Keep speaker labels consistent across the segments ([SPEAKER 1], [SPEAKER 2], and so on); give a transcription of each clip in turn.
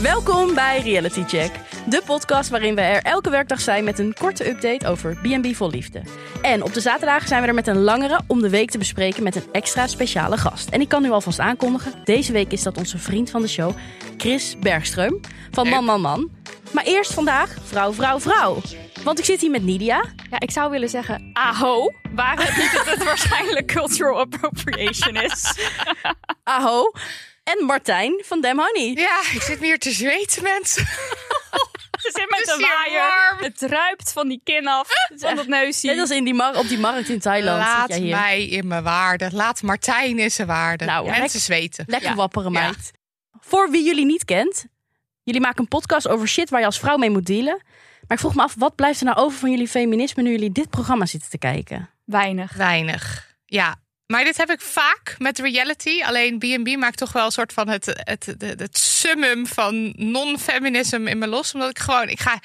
[SPEAKER 1] Welkom bij Reality Check, de podcast waarin we er elke werkdag zijn met een korte update over B&B vol liefde. En op de zaterdagen zijn we er met een langere om de week te bespreken met een extra speciale gast. En ik kan nu alvast aankondigen, deze week is dat onze vriend van de show, Chris Bergström van Man Man Man. Maar eerst vandaag vrouw, vrouw, vrouw. Want ik zit hier met Nidia.
[SPEAKER 2] Ja, ik zou willen zeggen, aho, waar het niet dat het waarschijnlijk cultural appropriation is.
[SPEAKER 1] Aho. En Martijn van Dem Honey.
[SPEAKER 3] Ja, ik zit meer te zweten, mensen.
[SPEAKER 2] Ze zit met
[SPEAKER 3] Het is
[SPEAKER 2] een
[SPEAKER 3] hier
[SPEAKER 2] waaier,
[SPEAKER 3] warm.
[SPEAKER 2] het ruipt van die kin af, het is van dat
[SPEAKER 1] Net
[SPEAKER 2] neusje.
[SPEAKER 1] als in die mar- op die markt in Thailand
[SPEAKER 3] Laat
[SPEAKER 1] zit jij hier.
[SPEAKER 3] mij in mijn waarde. Laat Martijn in zijn waarde.
[SPEAKER 1] Nou,
[SPEAKER 3] mensen
[SPEAKER 1] lekker-
[SPEAKER 3] zweten.
[SPEAKER 1] Lekker
[SPEAKER 2] Ja.
[SPEAKER 1] wapperen
[SPEAKER 3] Ja.
[SPEAKER 1] meid. Voor wie jullie niet kent. Jullie maken een podcast over shit waar je als vrouw mee moet dealen. Maar ik vroeg me af, wat blijft er nou over van jullie feminisme nu jullie dit programma zitten te kijken?
[SPEAKER 2] Weinig.
[SPEAKER 3] Weinig. Ja. Maar dit heb ik vaak met reality. Alleen B&B maakt toch wel een soort van het, het, het, het summum van non-feminism in me los. Omdat ik gewoon, ik ga...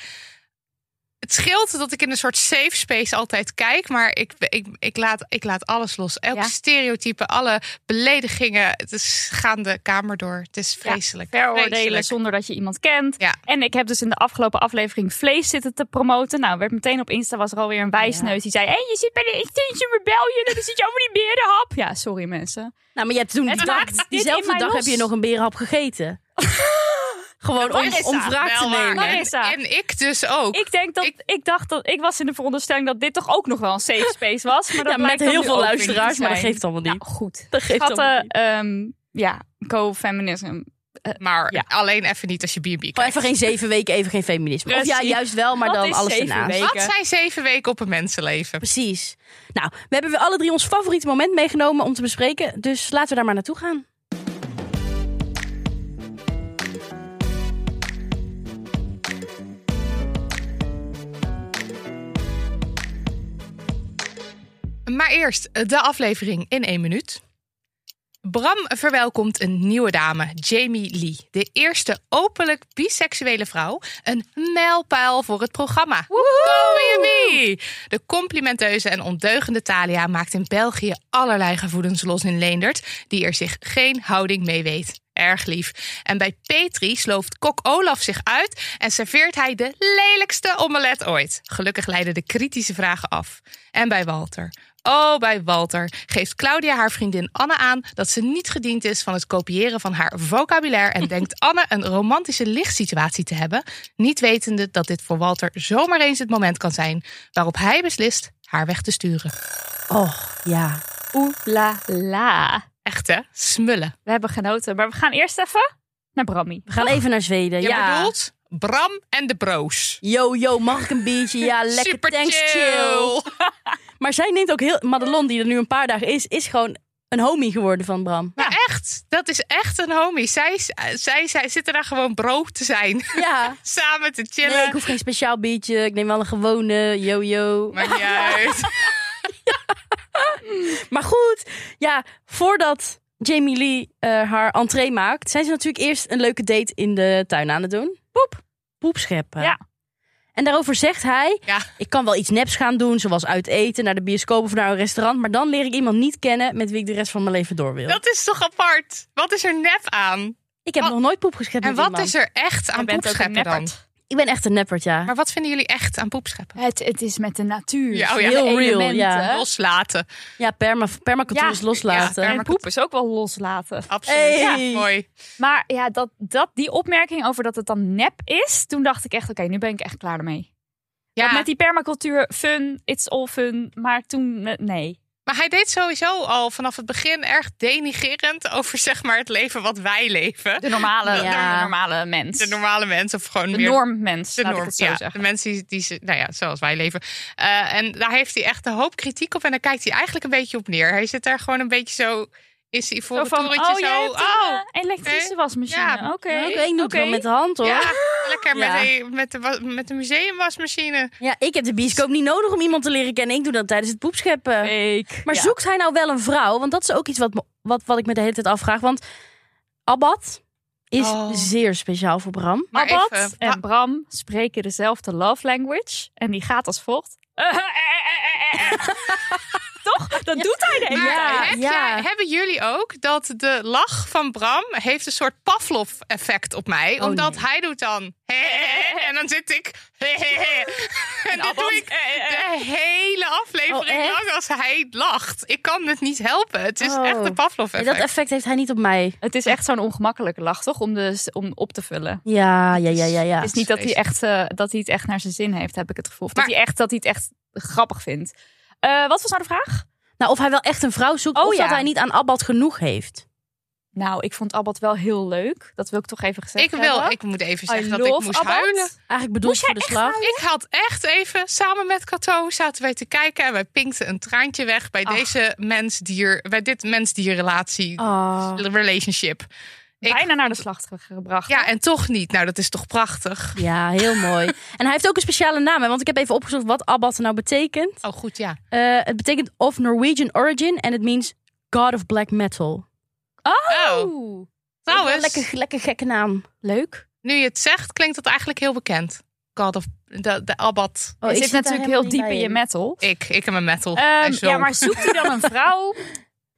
[SPEAKER 3] Het scheelt dat ik in een soort safe space altijd kijk. Maar ik, ik, ik, laat, ik laat alles los. Elke
[SPEAKER 2] Ja.
[SPEAKER 3] stereotype, alle beledigingen. Het is, gaan de kamer door. Het is vreselijk.
[SPEAKER 2] Veroordelen
[SPEAKER 3] Vreselijk.
[SPEAKER 2] zonder dat je iemand kent.
[SPEAKER 3] Ja.
[SPEAKER 2] En ik heb dus in de afgelopen aflevering vlees zitten te promoten. Nou, werd meteen op Insta was er alweer een wijsneus die zei... Hé, je zit bij de Extinction Rebellion en dan zit je over die berenhap. Ja, sorry mensen.
[SPEAKER 1] Nou, maar je hebt toen die
[SPEAKER 2] Het
[SPEAKER 1] dag-
[SPEAKER 2] maakt dit in
[SPEAKER 1] diezelfde
[SPEAKER 2] mij
[SPEAKER 1] dag
[SPEAKER 2] los.
[SPEAKER 1] heb je nog een berenhap gegeten. Gewoon om,
[SPEAKER 3] Marissa,
[SPEAKER 1] om wraak te
[SPEAKER 3] wel waar.
[SPEAKER 1] nemen.
[SPEAKER 2] Marissa.
[SPEAKER 3] En, en ik dus ook.
[SPEAKER 2] Ik denk dat ik,
[SPEAKER 3] Ik-
[SPEAKER 2] dacht dat ik was in de veronderstelling dat dit toch ook nog wel een safe space was. Maar dat
[SPEAKER 1] Ja, met
[SPEAKER 2] blijkt dan
[SPEAKER 1] heel
[SPEAKER 2] nu
[SPEAKER 1] veel
[SPEAKER 2] ook weer niet
[SPEAKER 1] luisteraars,
[SPEAKER 2] te
[SPEAKER 1] maar dat
[SPEAKER 2] zijn.
[SPEAKER 1] geeft allemaal niet.
[SPEAKER 2] Nou, goed.
[SPEAKER 1] Dat geeft allemaal
[SPEAKER 2] Schatten,
[SPEAKER 1] niet.
[SPEAKER 2] ehm, ja, co-feminism.
[SPEAKER 3] maar
[SPEAKER 2] ja.
[SPEAKER 3] alleen even niet als je B&B
[SPEAKER 1] Gewoon
[SPEAKER 3] kijkt.
[SPEAKER 1] even geen zeven weken, even geen feminisme. Of ja,
[SPEAKER 2] Precies.
[SPEAKER 1] juist wel, maar
[SPEAKER 2] Wat
[SPEAKER 1] dan
[SPEAKER 2] is
[SPEAKER 1] alles
[SPEAKER 2] zeven
[SPEAKER 1] ernaast.
[SPEAKER 2] weken?
[SPEAKER 3] Wat zijn zeven weken op een mensenleven?
[SPEAKER 1] Precies. Nou, we hebben weer alle drie ons favoriete moment meegenomen om te bespreken. Dus laten we daar maar naartoe gaan.
[SPEAKER 3] Maar eerst de aflevering in één minuut. Bram verwelkomt een nieuwe dame, Jamie Lee. De eerste openlijk biseksuele vrouw. Een mijlpaal voor het programma. Go B&B! De complimenteuze en ondeugende Thalia maakt in België allerlei gevoelens los in Leendert... die er zich geen houding mee weet. Erg lief. En bij Petri slooft kok Olaf zich uit... en serveert hij de lelijkste omelet ooit. Gelukkig leiden de kritische vragen af. En bij Walter. Oh, bij Walter geeft Claudia haar vriendin Anne aan dat ze niet gediend is van het kopiëren van haar vocabulaire en denkt Anne een romantische lichtsituatie te hebben, niet wetende dat dit voor Walter zomaar eens het moment kan zijn waarop hij beslist haar weg te sturen.
[SPEAKER 1] Och, ja.
[SPEAKER 2] Oeh la la.
[SPEAKER 3] Echt hè? Smullen.
[SPEAKER 2] We hebben genoten, maar we gaan eerst even naar Brammy.
[SPEAKER 1] We gaan even naar Zweden.
[SPEAKER 3] Je
[SPEAKER 1] ja.
[SPEAKER 3] bedoelt Bram en de broos.
[SPEAKER 1] Yo, yo, mag ik een biertje? Ja, lekker.
[SPEAKER 3] Super
[SPEAKER 1] thanks, chill. Maar zij neemt ook heel... Madelon, die er nu een paar dagen is, is gewoon een homie geworden van Bram.
[SPEAKER 3] Maar echt, dat is echt een homie. Zij, is- zij, zij zitten daar gewoon bro te zijn.
[SPEAKER 1] Ja.
[SPEAKER 3] Samen te chillen.
[SPEAKER 1] Nee, ik hoef geen speciaal biertje. Ik neem wel een gewone, yo, yo.
[SPEAKER 3] Maakt niet uit.
[SPEAKER 1] Maar goed, ja, voordat Jamie Lee eh, haar entree maakt, zijn ze natuurlijk eerst een leuke date in de tuin aan het doen. Poep. Poep scheppen.
[SPEAKER 2] Ja.
[SPEAKER 1] En daarover zegt hij,
[SPEAKER 3] Ja.
[SPEAKER 1] ik kan wel iets neps gaan doen, zoals uit eten, naar de bioscoop of naar een restaurant, maar dan leer ik iemand niet kennen met wie ik de rest van mijn leven door wil.
[SPEAKER 3] Dat is toch apart? Wat is er nep aan?
[SPEAKER 1] Ik heb
[SPEAKER 3] Wat-
[SPEAKER 1] nog nooit poep geschept
[SPEAKER 3] En
[SPEAKER 1] met
[SPEAKER 3] wat
[SPEAKER 1] iemand.
[SPEAKER 3] is er Oh, echt aan
[SPEAKER 2] bent ook een
[SPEAKER 3] poepscheppen dan?
[SPEAKER 2] neppert.
[SPEAKER 1] Ik ben echt een neppert, ja.
[SPEAKER 3] Maar wat vinden jullie echt aan poepscheppen?
[SPEAKER 2] Het, het is met de natuur.
[SPEAKER 3] Ja, oh ja.
[SPEAKER 2] De
[SPEAKER 1] Heel real,
[SPEAKER 2] elementen.
[SPEAKER 1] ja. hè?
[SPEAKER 3] Loslaten.
[SPEAKER 1] Ja, perma, permacultuur
[SPEAKER 2] Ja,
[SPEAKER 1] is loslaten.
[SPEAKER 3] ja,
[SPEAKER 2] En
[SPEAKER 3] Maar-
[SPEAKER 2] poep is ook wel loslaten.
[SPEAKER 3] Absoluut.
[SPEAKER 1] Hey.
[SPEAKER 3] Ja, mooi.
[SPEAKER 2] Maar ja, dat, dat, die opmerking over dat het dan nep is, toen dacht ik echt, oké, nu ben ik echt klaar ermee.
[SPEAKER 3] Ja,
[SPEAKER 2] Want Met die permacultuur, fun, it's all fun. Maar toen, eh, nee.
[SPEAKER 3] maar hij deed sowieso al vanaf het begin erg denigerend over zeg maar het leven wat wij leven.
[SPEAKER 2] De normale,
[SPEAKER 1] Ja.
[SPEAKER 2] de normale mens.
[SPEAKER 3] De normale mensen of gewoon
[SPEAKER 2] De
[SPEAKER 3] meer
[SPEAKER 2] normmens,
[SPEAKER 3] de
[SPEAKER 2] laat ik
[SPEAKER 3] norm.
[SPEAKER 2] het zo
[SPEAKER 3] ja,
[SPEAKER 2] zeggen.
[SPEAKER 3] de mensen die, die ze, nou ja, zoals wij leven. Eh, en daar heeft hij echt een hoop kritiek op en daar kijkt hij eigenlijk een beetje op neer. Hij zit daar gewoon een beetje zo is hij voor
[SPEAKER 2] Zo
[SPEAKER 3] het
[SPEAKER 2] van,
[SPEAKER 3] torentje
[SPEAKER 2] oh, jij
[SPEAKER 3] zo.
[SPEAKER 2] hebt een
[SPEAKER 3] oh,
[SPEAKER 2] eh, elektrische
[SPEAKER 3] oké.
[SPEAKER 2] wasmachine.
[SPEAKER 3] Ja.
[SPEAKER 2] Oké,
[SPEAKER 1] Oké, ik doe het wel
[SPEAKER 2] oké.
[SPEAKER 1] met de hand, hoor.
[SPEAKER 3] ja,
[SPEAKER 1] Ja.
[SPEAKER 3] lekker
[SPEAKER 1] Ja.
[SPEAKER 3] Met, de, met, de, wa- met de museumwasmachine.
[SPEAKER 1] ik heb de bioscoop niet nodig om iemand te leren kennen. Ik doe dat tijdens het poep scheppen.
[SPEAKER 2] Fake.
[SPEAKER 1] Maar
[SPEAKER 2] Ja.
[SPEAKER 1] zoekt hij nou wel een vrouw? Want dat is ook iets wat, me- wat, wat ik me de hele tijd afvraag. Want Abad is
[SPEAKER 3] Oh.
[SPEAKER 1] zeer speciaal voor Bram.
[SPEAKER 3] Maar
[SPEAKER 2] Abad
[SPEAKER 3] even,
[SPEAKER 2] en Bram spreken dezelfde love language. En die gaat als volgt. toch? Dat doet hij de hele
[SPEAKER 3] Maar
[SPEAKER 2] tijd.
[SPEAKER 3] heb
[SPEAKER 1] ja.
[SPEAKER 3] jij- hebben jullie ook dat de lach van Bram heeft een soort Pavlov-effect op mij?
[SPEAKER 1] Oh,
[SPEAKER 3] omdat
[SPEAKER 1] nee.
[SPEAKER 3] hij doet dan... en dan zit ik... en dit doe ik de hele aflevering
[SPEAKER 1] Oh, echt?
[SPEAKER 3] lang als hij lacht. Ik kan het niet helpen. Het is
[SPEAKER 1] Oh.
[SPEAKER 3] echt de
[SPEAKER 1] Ja, dat
[SPEAKER 3] Pavlov-effect.
[SPEAKER 1] effect heeft hij niet op mij.
[SPEAKER 2] Het is echt zo'n ongemakkelijke lach, toch? Om, de, om op te vullen.
[SPEAKER 1] Ja, ja, ja, ja. ja.
[SPEAKER 2] het is niet dat hij, echt, eh, dat hij het echt naar zijn zin heeft, heb ik het gevoel. Of
[SPEAKER 3] Maar-
[SPEAKER 2] dat, hij echt, dat hij het echt grappig vindt. Eh, wat was nou de vraag?
[SPEAKER 1] Nou, of hij wel echt een vrouw zoekt,
[SPEAKER 2] Oh,
[SPEAKER 1] of dat
[SPEAKER 2] ja.
[SPEAKER 1] hij niet aan Abbad genoeg heeft.
[SPEAKER 2] Nou, ik vond Abbott wel heel leuk. Dat wil ik toch even gezegd
[SPEAKER 3] Ik wil,
[SPEAKER 2] hebben.
[SPEAKER 3] ik moet even
[SPEAKER 2] I
[SPEAKER 3] zeggen dat ik
[SPEAKER 2] love
[SPEAKER 3] moest
[SPEAKER 2] Abbott.
[SPEAKER 3] huilen.
[SPEAKER 1] Eigenlijk bedoeld
[SPEAKER 2] Moest
[SPEAKER 1] voor
[SPEAKER 2] jij
[SPEAKER 1] de
[SPEAKER 2] echt
[SPEAKER 1] slag.
[SPEAKER 3] Ik had echt even samen met Cato zaten wij te kijken en wij pinkten een traantje weg bij
[SPEAKER 2] Ach.
[SPEAKER 3] deze mens-dier, bij dit mens-dierrelatie,
[SPEAKER 1] Ah.
[SPEAKER 3] relationship. Ik-
[SPEAKER 2] Oh. Bijna naar de slacht ge- gebracht.
[SPEAKER 3] Ja, en toch niet. Nou, dat is toch prachtig.
[SPEAKER 1] Ja, heel mooi. En hij heeft ook een speciale naam, hè, want ik heb even opgezocht wat Abbad nou betekent.
[SPEAKER 3] Oh, goed, ja.
[SPEAKER 1] Eh, het betekent of Norwegian origin en het means God of Black Metal.
[SPEAKER 3] Oh,
[SPEAKER 2] Oeh,
[SPEAKER 3] trouwens,
[SPEAKER 1] Lekker, lekker gekke naam.
[SPEAKER 2] leuk.
[SPEAKER 3] nu je het zegt, klinkt dat eigenlijk heel bekend. God of de, de Abbat.
[SPEAKER 1] Oh,
[SPEAKER 2] je
[SPEAKER 1] ik
[SPEAKER 2] zit
[SPEAKER 1] daar helemaal
[SPEAKER 2] natuurlijk heel
[SPEAKER 1] niet
[SPEAKER 2] diep in
[SPEAKER 1] bij
[SPEAKER 2] je metal.
[SPEAKER 3] Ik, ik en mijn metal.
[SPEAKER 2] Ehm,
[SPEAKER 3] en zo.
[SPEAKER 2] ja, maar zoekt hij dan een vrouw?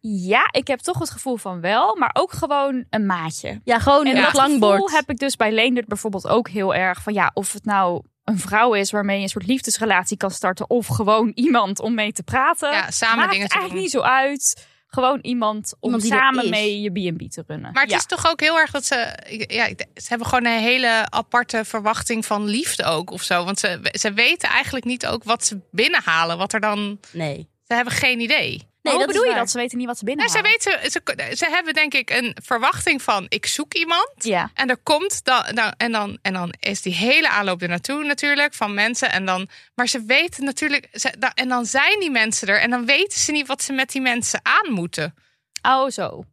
[SPEAKER 2] Ja, ik heb toch het gevoel van wel, maar ook gewoon een maatje.
[SPEAKER 1] Ja, gewoon
[SPEAKER 2] En
[SPEAKER 1] een
[SPEAKER 2] dat gevoel
[SPEAKER 1] slangbord.
[SPEAKER 2] heb ik dus bij Leendert bijvoorbeeld ook heel erg van ja, of het nou een vrouw is waarmee je een soort liefdesrelatie kan starten of gewoon iemand om mee te praten.
[SPEAKER 3] Ja, samen
[SPEAKER 2] Maakt
[SPEAKER 3] dingen te
[SPEAKER 2] eigenlijk
[SPEAKER 3] doen.
[SPEAKER 2] niet zo uit. Gewoon iemand om
[SPEAKER 1] Iemand die er
[SPEAKER 2] samen
[SPEAKER 1] is.
[SPEAKER 2] mee je B&B te runnen.
[SPEAKER 3] Maar het
[SPEAKER 2] Ja.
[SPEAKER 3] is toch ook heel erg dat ze. ik- Ja, ik- ze hebben gewoon een hele aparte verwachting van liefde ook of zo. Want ze, ze weten eigenlijk niet ook wat ze binnenhalen. Wat er dan.
[SPEAKER 1] Nee.
[SPEAKER 3] Ze hebben geen idee.
[SPEAKER 1] Nee,
[SPEAKER 2] hoe
[SPEAKER 1] dat
[SPEAKER 2] bedoel
[SPEAKER 1] is
[SPEAKER 2] je
[SPEAKER 1] waar.
[SPEAKER 2] dat? Ze weten niet wat ze binnen
[SPEAKER 3] Nou, ze, weten, ze, ze hebben denk ik een verwachting van ik zoek iemand.
[SPEAKER 2] Ja.
[SPEAKER 3] En er komt dan, nou, en dan, en dan is die hele aanloop ernaartoe natuurlijk van mensen. En dan, maar ze weten natuurlijk, ze, da- en dan zijn die mensen er en dan weten ze niet wat ze met die mensen aan moeten.
[SPEAKER 2] Oh, zo.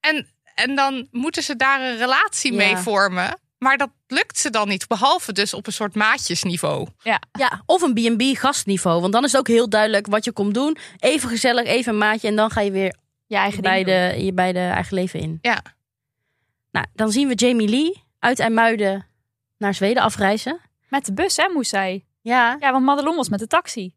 [SPEAKER 3] En, en dan moeten ze daar een relatie
[SPEAKER 1] Ja.
[SPEAKER 3] mee vormen. Maar dat lukt ze dan niet, behalve dus op een soort maatjesniveau.
[SPEAKER 2] Ja.
[SPEAKER 1] Ja, of een B&B gastniveau. Want dan is het ook heel duidelijk wat je komt doen. Even gezellig, even een maatje. En dan ga je weer
[SPEAKER 2] Je eigen
[SPEAKER 1] bij
[SPEAKER 2] ding doen.
[SPEAKER 1] de, je bij de eigen leven in.
[SPEAKER 3] Ja.
[SPEAKER 1] Nou, dan zien we Jamie Lee uit IJmuiden naar Zweden afreizen.
[SPEAKER 2] Met de bus, hè, moest zij.
[SPEAKER 1] Ja.
[SPEAKER 2] Ja, want Madelon was met de taxi.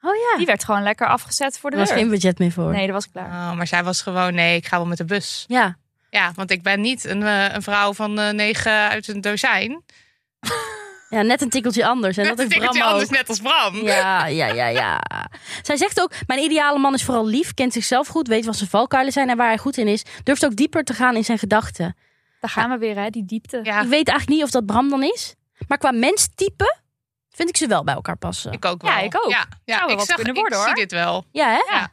[SPEAKER 1] Oh ja.
[SPEAKER 2] Die werd gewoon lekker afgezet voor de
[SPEAKER 1] Er was
[SPEAKER 2] deur.
[SPEAKER 1] geen budget meer voor.
[SPEAKER 2] Nee, dat was klaar.
[SPEAKER 3] Oh, maar zij was gewoon, nee, ik ga wel met de bus.
[SPEAKER 1] Ja.
[SPEAKER 3] Ja, want ik ben niet een, eh, een vrouw van eh, negen uit een dozijn.
[SPEAKER 1] ja, net een tikkeltje anders. En
[SPEAKER 3] Dat
[SPEAKER 1] dat heeft
[SPEAKER 3] betekent je
[SPEAKER 1] Bram ook.
[SPEAKER 3] anders net als Bram.
[SPEAKER 1] Ja, ja, ja, ja. Zij zegt ook, mijn ideale man is vooral lief, kent zichzelf goed, weet wat zijn valkuilen zijn en waar hij goed in is. Durft ook dieper te gaan in zijn gedachten.
[SPEAKER 2] Daar gaan we weer, hè, die diepte.
[SPEAKER 3] Ja,
[SPEAKER 1] Ik weet eigenlijk niet of dat Bram dan is. Maar qua menstype vind ik ze wel bij elkaar passen.
[SPEAKER 3] ik ook wel.
[SPEAKER 2] Ja, ik ook.
[SPEAKER 3] Ja, ja,
[SPEAKER 2] Zou wel
[SPEAKER 3] ik
[SPEAKER 2] wat
[SPEAKER 3] zag,
[SPEAKER 2] kunnen
[SPEAKER 3] ik
[SPEAKER 2] worden, hoor.
[SPEAKER 3] zie dit wel.
[SPEAKER 1] Ja, hè?
[SPEAKER 3] Ja.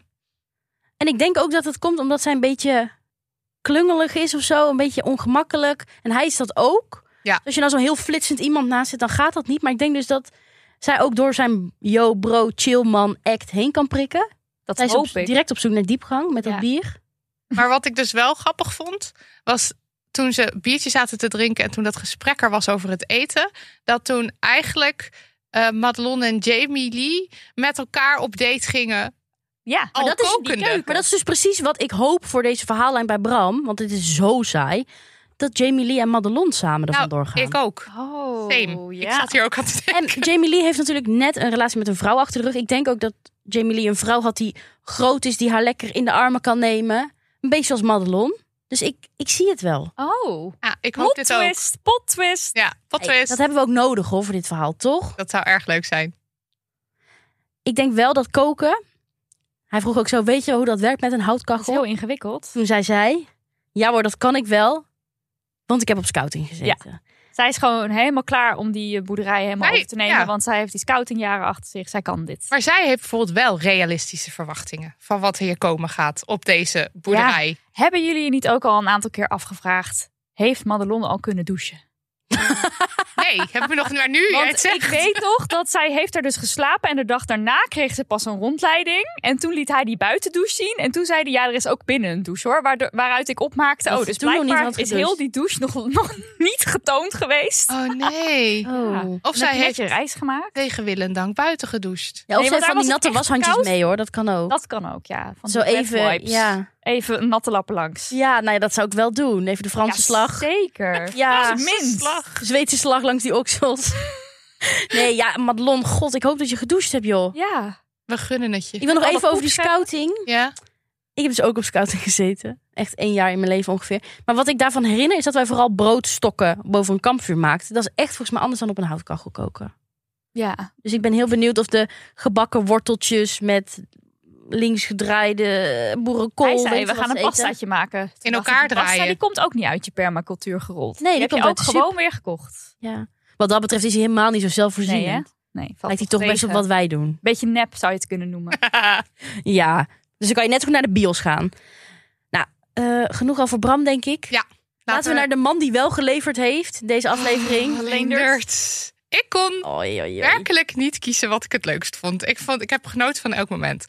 [SPEAKER 1] En ik denk ook dat het komt omdat zij een beetje klungelig is of zo. Een beetje ongemakkelijk. En hij is dat ook.
[SPEAKER 3] Ja.
[SPEAKER 1] Dus als je nou zo'n heel flitsend iemand naast zit, dan gaat dat niet. Maar ik denk dus dat zij ook door zijn yo bro chill man act heen kan prikken.
[SPEAKER 2] Dat
[SPEAKER 1] Zij is
[SPEAKER 2] hoop
[SPEAKER 1] op-
[SPEAKER 2] ik.
[SPEAKER 1] direct op zoek naar diepgang met
[SPEAKER 2] Ja.
[SPEAKER 1] dat bier.
[SPEAKER 3] Maar wat ik dus wel grappig vond, was toen ze biertje zaten te drinken en toen dat gesprek er was over het eten, dat toen eigenlijk eh Madelon en Jamie Lee met elkaar op date gingen.
[SPEAKER 2] Ja.
[SPEAKER 3] al
[SPEAKER 1] dat is die
[SPEAKER 3] kokende.
[SPEAKER 1] Maar dat is dus precies wat ik hoop voor deze verhaallijn bij Bram. Want dit is zo saai. Dat Jamie Lee en Madelon samen ervan
[SPEAKER 3] nou,
[SPEAKER 1] doorgaan.
[SPEAKER 3] ik ook.
[SPEAKER 2] Oh,
[SPEAKER 3] Same. Ik
[SPEAKER 2] ja.
[SPEAKER 3] zat hier ook aan te
[SPEAKER 1] En
[SPEAKER 3] denken.
[SPEAKER 1] Jamie Lee heeft natuurlijk net een relatie met een vrouw achter de rug. Ik denk ook dat Jamie Lee een vrouw had die groot is, die haar lekker in de armen kan nemen. Een beetje zoals Madelon. Dus ik, ik zie het wel.
[SPEAKER 2] Oh.
[SPEAKER 3] Ja, Ah, ik hoop
[SPEAKER 2] Plot
[SPEAKER 3] dit ook.
[SPEAKER 2] twist, plot twist.
[SPEAKER 3] Ja, wat
[SPEAKER 1] Hey,
[SPEAKER 3] twist.
[SPEAKER 1] dat hebben we ook nodig hoor, voor dit verhaal, toch?
[SPEAKER 3] Dat zou erg leuk zijn.
[SPEAKER 1] Ik denk wel dat koken. Hij vroeg ook zo: Weet je hoe dat werkt met een
[SPEAKER 2] Dat is
[SPEAKER 1] houtkachel?
[SPEAKER 2] heel ingewikkeld.
[SPEAKER 1] Toen zij zei: Ja hoor, dat kan ik wel. Want ik heb op scouting gezeten.
[SPEAKER 2] Zij is gewoon helemaal klaar om die eh, boerderij helemaal
[SPEAKER 3] Zij-
[SPEAKER 2] over te nemen.
[SPEAKER 3] ja.
[SPEAKER 2] Want zij heeft die scoutingjaren achter zich. Zij kan dit.
[SPEAKER 3] Maar zij heeft bijvoorbeeld wel realistische verwachtingen van wat hier komen gaat op deze boerderij.
[SPEAKER 2] Hebben jullie je niet ook al een aantal keer afgevraagd? Heeft Madelon al kunnen douchen?
[SPEAKER 3] Nee, hebben we nog maar nu. jij het
[SPEAKER 2] Want
[SPEAKER 3] zegt.
[SPEAKER 2] ik weet nog dat zij heeft er dus geslapen. En de dag daarna kreeg ze pas een rondleiding. En toen liet hij die buitendouche zien. En toen zei hij, ja, er is ook binnen een douche hoor. Waardoor, waaruit ik opmaakte,
[SPEAKER 1] Dat
[SPEAKER 2] oh,
[SPEAKER 1] ze
[SPEAKER 2] dus
[SPEAKER 1] toen nog niet
[SPEAKER 2] blijkbaar
[SPEAKER 1] had
[SPEAKER 2] is
[SPEAKER 1] gedoucht.
[SPEAKER 2] heel die douche nog, nog niet getoond geweest.
[SPEAKER 3] Oh nee.
[SPEAKER 1] Oh.
[SPEAKER 3] Of zij heeft
[SPEAKER 2] je reis gemaakt.
[SPEAKER 3] tegen wil en dank buiten gedoucht.
[SPEAKER 1] Ja, of
[SPEAKER 2] Nee,
[SPEAKER 1] zij
[SPEAKER 2] maar
[SPEAKER 1] van die
[SPEAKER 2] daar was het
[SPEAKER 1] natte
[SPEAKER 2] echt
[SPEAKER 1] washandjes
[SPEAKER 2] koud.
[SPEAKER 1] mee hoor, dat kan ook.
[SPEAKER 2] Dat kan ook, ja. Van
[SPEAKER 1] Zo
[SPEAKER 2] die bad
[SPEAKER 1] even,
[SPEAKER 2] vibes.
[SPEAKER 1] ja.
[SPEAKER 2] Even natte lappen langs.
[SPEAKER 1] ja, nou ja, dat zou ik wel doen. Even de Franse
[SPEAKER 2] Ja,
[SPEAKER 1] slag.
[SPEAKER 2] Zeker.
[SPEAKER 1] Ja,
[SPEAKER 2] minst.
[SPEAKER 1] Zweedse slag langs die oksels. nee, ja, Madelon, god, ik hoop dat je gedoucht hebt, joh.
[SPEAKER 2] Ja.
[SPEAKER 3] We gunnen het
[SPEAKER 1] Ik
[SPEAKER 3] je.
[SPEAKER 1] wil nog
[SPEAKER 2] Alle
[SPEAKER 1] even over die
[SPEAKER 2] poepschep.
[SPEAKER 1] scouting.
[SPEAKER 3] Ja.
[SPEAKER 1] Ik heb dus ook op scouting gezeten. Echt één jaar in mijn leven ongeveer. Maar wat ik daarvan herinner is dat wij vooral broodstokken boven een kampvuur maakten. Dat is echt volgens mij anders dan op een houtkachel koken.
[SPEAKER 2] Ja.
[SPEAKER 1] Dus ik ben heel benieuwd of de gebakken worteltjes met linksgedraaide boerenkool...
[SPEAKER 2] Hij
[SPEAKER 1] weet
[SPEAKER 2] zei,
[SPEAKER 1] je
[SPEAKER 2] we
[SPEAKER 1] wat
[SPEAKER 2] gaan
[SPEAKER 1] ze
[SPEAKER 2] een
[SPEAKER 1] eten.
[SPEAKER 2] pastaatje maken. Toen
[SPEAKER 3] In
[SPEAKER 2] dacht
[SPEAKER 3] elkaar
[SPEAKER 2] ik, die Pasta,
[SPEAKER 3] draaien.
[SPEAKER 2] die komt ook niet uit je permacultuur gerold.
[SPEAKER 1] Nee, die
[SPEAKER 2] heb
[SPEAKER 1] komt
[SPEAKER 2] je
[SPEAKER 1] uit
[SPEAKER 2] ook
[SPEAKER 1] de
[SPEAKER 2] gewoon weer gekocht.
[SPEAKER 1] Ja. Wat dat betreft is hij helemaal niet zo zelfvoorzienend.
[SPEAKER 2] Nee, hè? Nee, valt
[SPEAKER 1] Lijkt hij toch best op
[SPEAKER 2] tegen.
[SPEAKER 1] wat wij doen.
[SPEAKER 2] Beetje nep zou je het kunnen noemen.
[SPEAKER 1] Ja, dus dan kan je net zo goed naar de bios gaan. Nou, eh, genoeg over Bram, denk ik.
[SPEAKER 3] Ja,
[SPEAKER 1] Laten we naar de man die wel geleverd heeft, deze aflevering.
[SPEAKER 3] alleen
[SPEAKER 2] Leendert.
[SPEAKER 3] nerds. Oh, Ik kon
[SPEAKER 1] Oei, oei, oei.
[SPEAKER 3] werkelijk niet kiezen wat ik het leukst vond. Ik, vond, ik heb genoten van elk moment.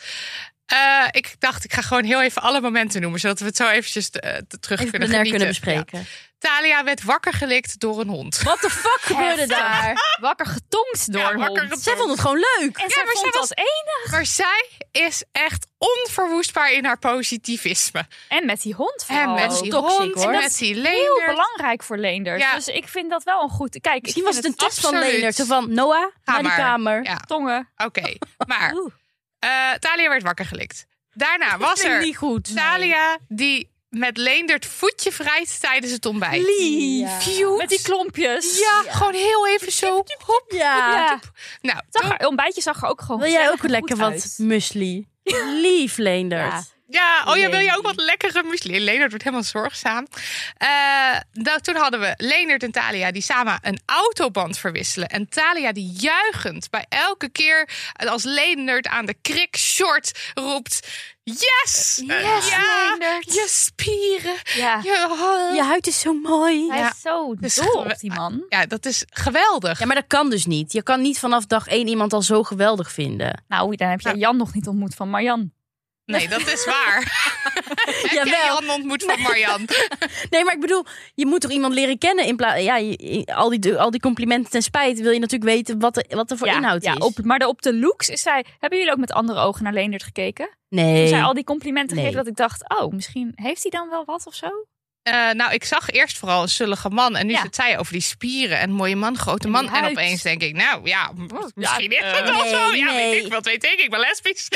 [SPEAKER 3] Eh, ik dacht, ik ga gewoon heel even alle momenten noemen, zodat we het zo eventjes eh, t- terug
[SPEAKER 1] Even
[SPEAKER 3] kunnen
[SPEAKER 1] plenair
[SPEAKER 3] genieten.
[SPEAKER 1] kunnen bespreken.
[SPEAKER 3] Ja. Talia werd wakker gelikt door een hond.
[SPEAKER 1] Wat de fuck gebeurde
[SPEAKER 2] Heftig.
[SPEAKER 1] daar?
[SPEAKER 2] Wakker getongst door
[SPEAKER 3] Ja,
[SPEAKER 2] een
[SPEAKER 3] wakker
[SPEAKER 2] hond.
[SPEAKER 3] getongst.
[SPEAKER 1] Zij vond het gewoon leuk.
[SPEAKER 2] En zij
[SPEAKER 3] maar zij
[SPEAKER 2] vond
[SPEAKER 3] was-
[SPEAKER 2] als één.
[SPEAKER 3] Maar zij is echt onverwoestbaar in haar positivisme.
[SPEAKER 2] En met die hond
[SPEAKER 3] en
[SPEAKER 2] vooral.
[SPEAKER 3] met die
[SPEAKER 1] Oh, toxic,
[SPEAKER 3] hond,
[SPEAKER 1] hoor.
[SPEAKER 3] met die
[SPEAKER 2] heel
[SPEAKER 3] leendert.
[SPEAKER 2] belangrijk voor leenders.
[SPEAKER 3] Ja.
[SPEAKER 2] Dus ik vind dat wel een goed... Kijk,
[SPEAKER 1] Misschien was het een test van
[SPEAKER 3] absoluut.
[SPEAKER 1] Leonard. Zo van, Noah, naar die
[SPEAKER 3] maar.
[SPEAKER 1] kamer.
[SPEAKER 3] Ja,
[SPEAKER 2] tongen.
[SPEAKER 3] oké.
[SPEAKER 1] Oh.
[SPEAKER 3] Maar
[SPEAKER 2] Oeh.
[SPEAKER 3] eh, Talia werd wakker gelikt. Daarna was
[SPEAKER 1] Vind ik
[SPEAKER 3] er
[SPEAKER 1] niet goed.
[SPEAKER 3] Talia die met Leendert voetje wrijft tijdens het ontbijt.
[SPEAKER 1] Lief.
[SPEAKER 3] Cute.
[SPEAKER 2] Met die klompjes.
[SPEAKER 3] Ja, gewoon heel even zo. Hop.
[SPEAKER 1] Ja.
[SPEAKER 2] Ja.
[SPEAKER 3] Nou,
[SPEAKER 2] Zag er, ontbijtje zag er ook gewoon
[SPEAKER 1] Wil jij ook
[SPEAKER 2] gezellig en
[SPEAKER 1] lekker
[SPEAKER 2] goed
[SPEAKER 1] wat
[SPEAKER 2] uit.
[SPEAKER 1] muesli? Lief, Leendert.
[SPEAKER 3] ja, oh ja, wil je
[SPEAKER 1] Nee.
[SPEAKER 3] ook wat lekkere muesli? Leendert wordt helemaal zorgzaam. Eh, nou, toen hadden we Leendert en Talia die samen een autoband verwisselen. En Talia die juichend bij elke keer als Leendert aan de krik short roept... Yes!
[SPEAKER 2] yes,
[SPEAKER 3] ja,
[SPEAKER 2] Leendert.
[SPEAKER 3] Je spieren.
[SPEAKER 2] Ja.
[SPEAKER 3] Je...
[SPEAKER 1] Je huid is zo mooi.
[SPEAKER 2] Hij
[SPEAKER 3] Ja.
[SPEAKER 2] is zo
[SPEAKER 3] Dus
[SPEAKER 2] dol
[SPEAKER 3] gewe-
[SPEAKER 2] op die man.
[SPEAKER 3] Ja, dat is geweldig.
[SPEAKER 1] Ja, maar dat kan dus niet. Je kan niet vanaf dag één iemand al zo geweldig vinden.
[SPEAKER 2] Nou, dan heb jij Jan nog niet ontmoet van Marjan.
[SPEAKER 3] Nee, dat is waar. Heb jij
[SPEAKER 1] Jawel.
[SPEAKER 3] Jan ontmoet van Marjan?
[SPEAKER 1] Nee, maar ik bedoel, je moet toch iemand leren kennen in plaats. Ja, je- al die, al die complimenten ten spijt wil je natuurlijk weten wat er, wat er voor
[SPEAKER 2] ja,
[SPEAKER 1] inhoud
[SPEAKER 2] ja,
[SPEAKER 1] is.
[SPEAKER 2] Op, maar de, op de looks is zij... Hebben jullie ook met andere ogen naar Leendert gekeken?
[SPEAKER 1] Nee.
[SPEAKER 2] Toen zij al die complimenten
[SPEAKER 1] Nee.
[SPEAKER 2] gegeven dat ik dacht... Oh, misschien heeft hij dan wel wat of zo?
[SPEAKER 3] Eh, nou, ik zag eerst vooral een zullige man. En nu
[SPEAKER 2] Ja.
[SPEAKER 3] zit zij over die spieren. En mooie man, grote
[SPEAKER 2] En
[SPEAKER 3] man.
[SPEAKER 2] die
[SPEAKER 3] En
[SPEAKER 2] huid.
[SPEAKER 3] opeens denk ik, nou ja, m- misschien is
[SPEAKER 2] eh,
[SPEAKER 3] het wel
[SPEAKER 1] nee,
[SPEAKER 3] zo. Ja,
[SPEAKER 1] nee.
[SPEAKER 3] weet ik, wat weet ik, ik ben lesbisch.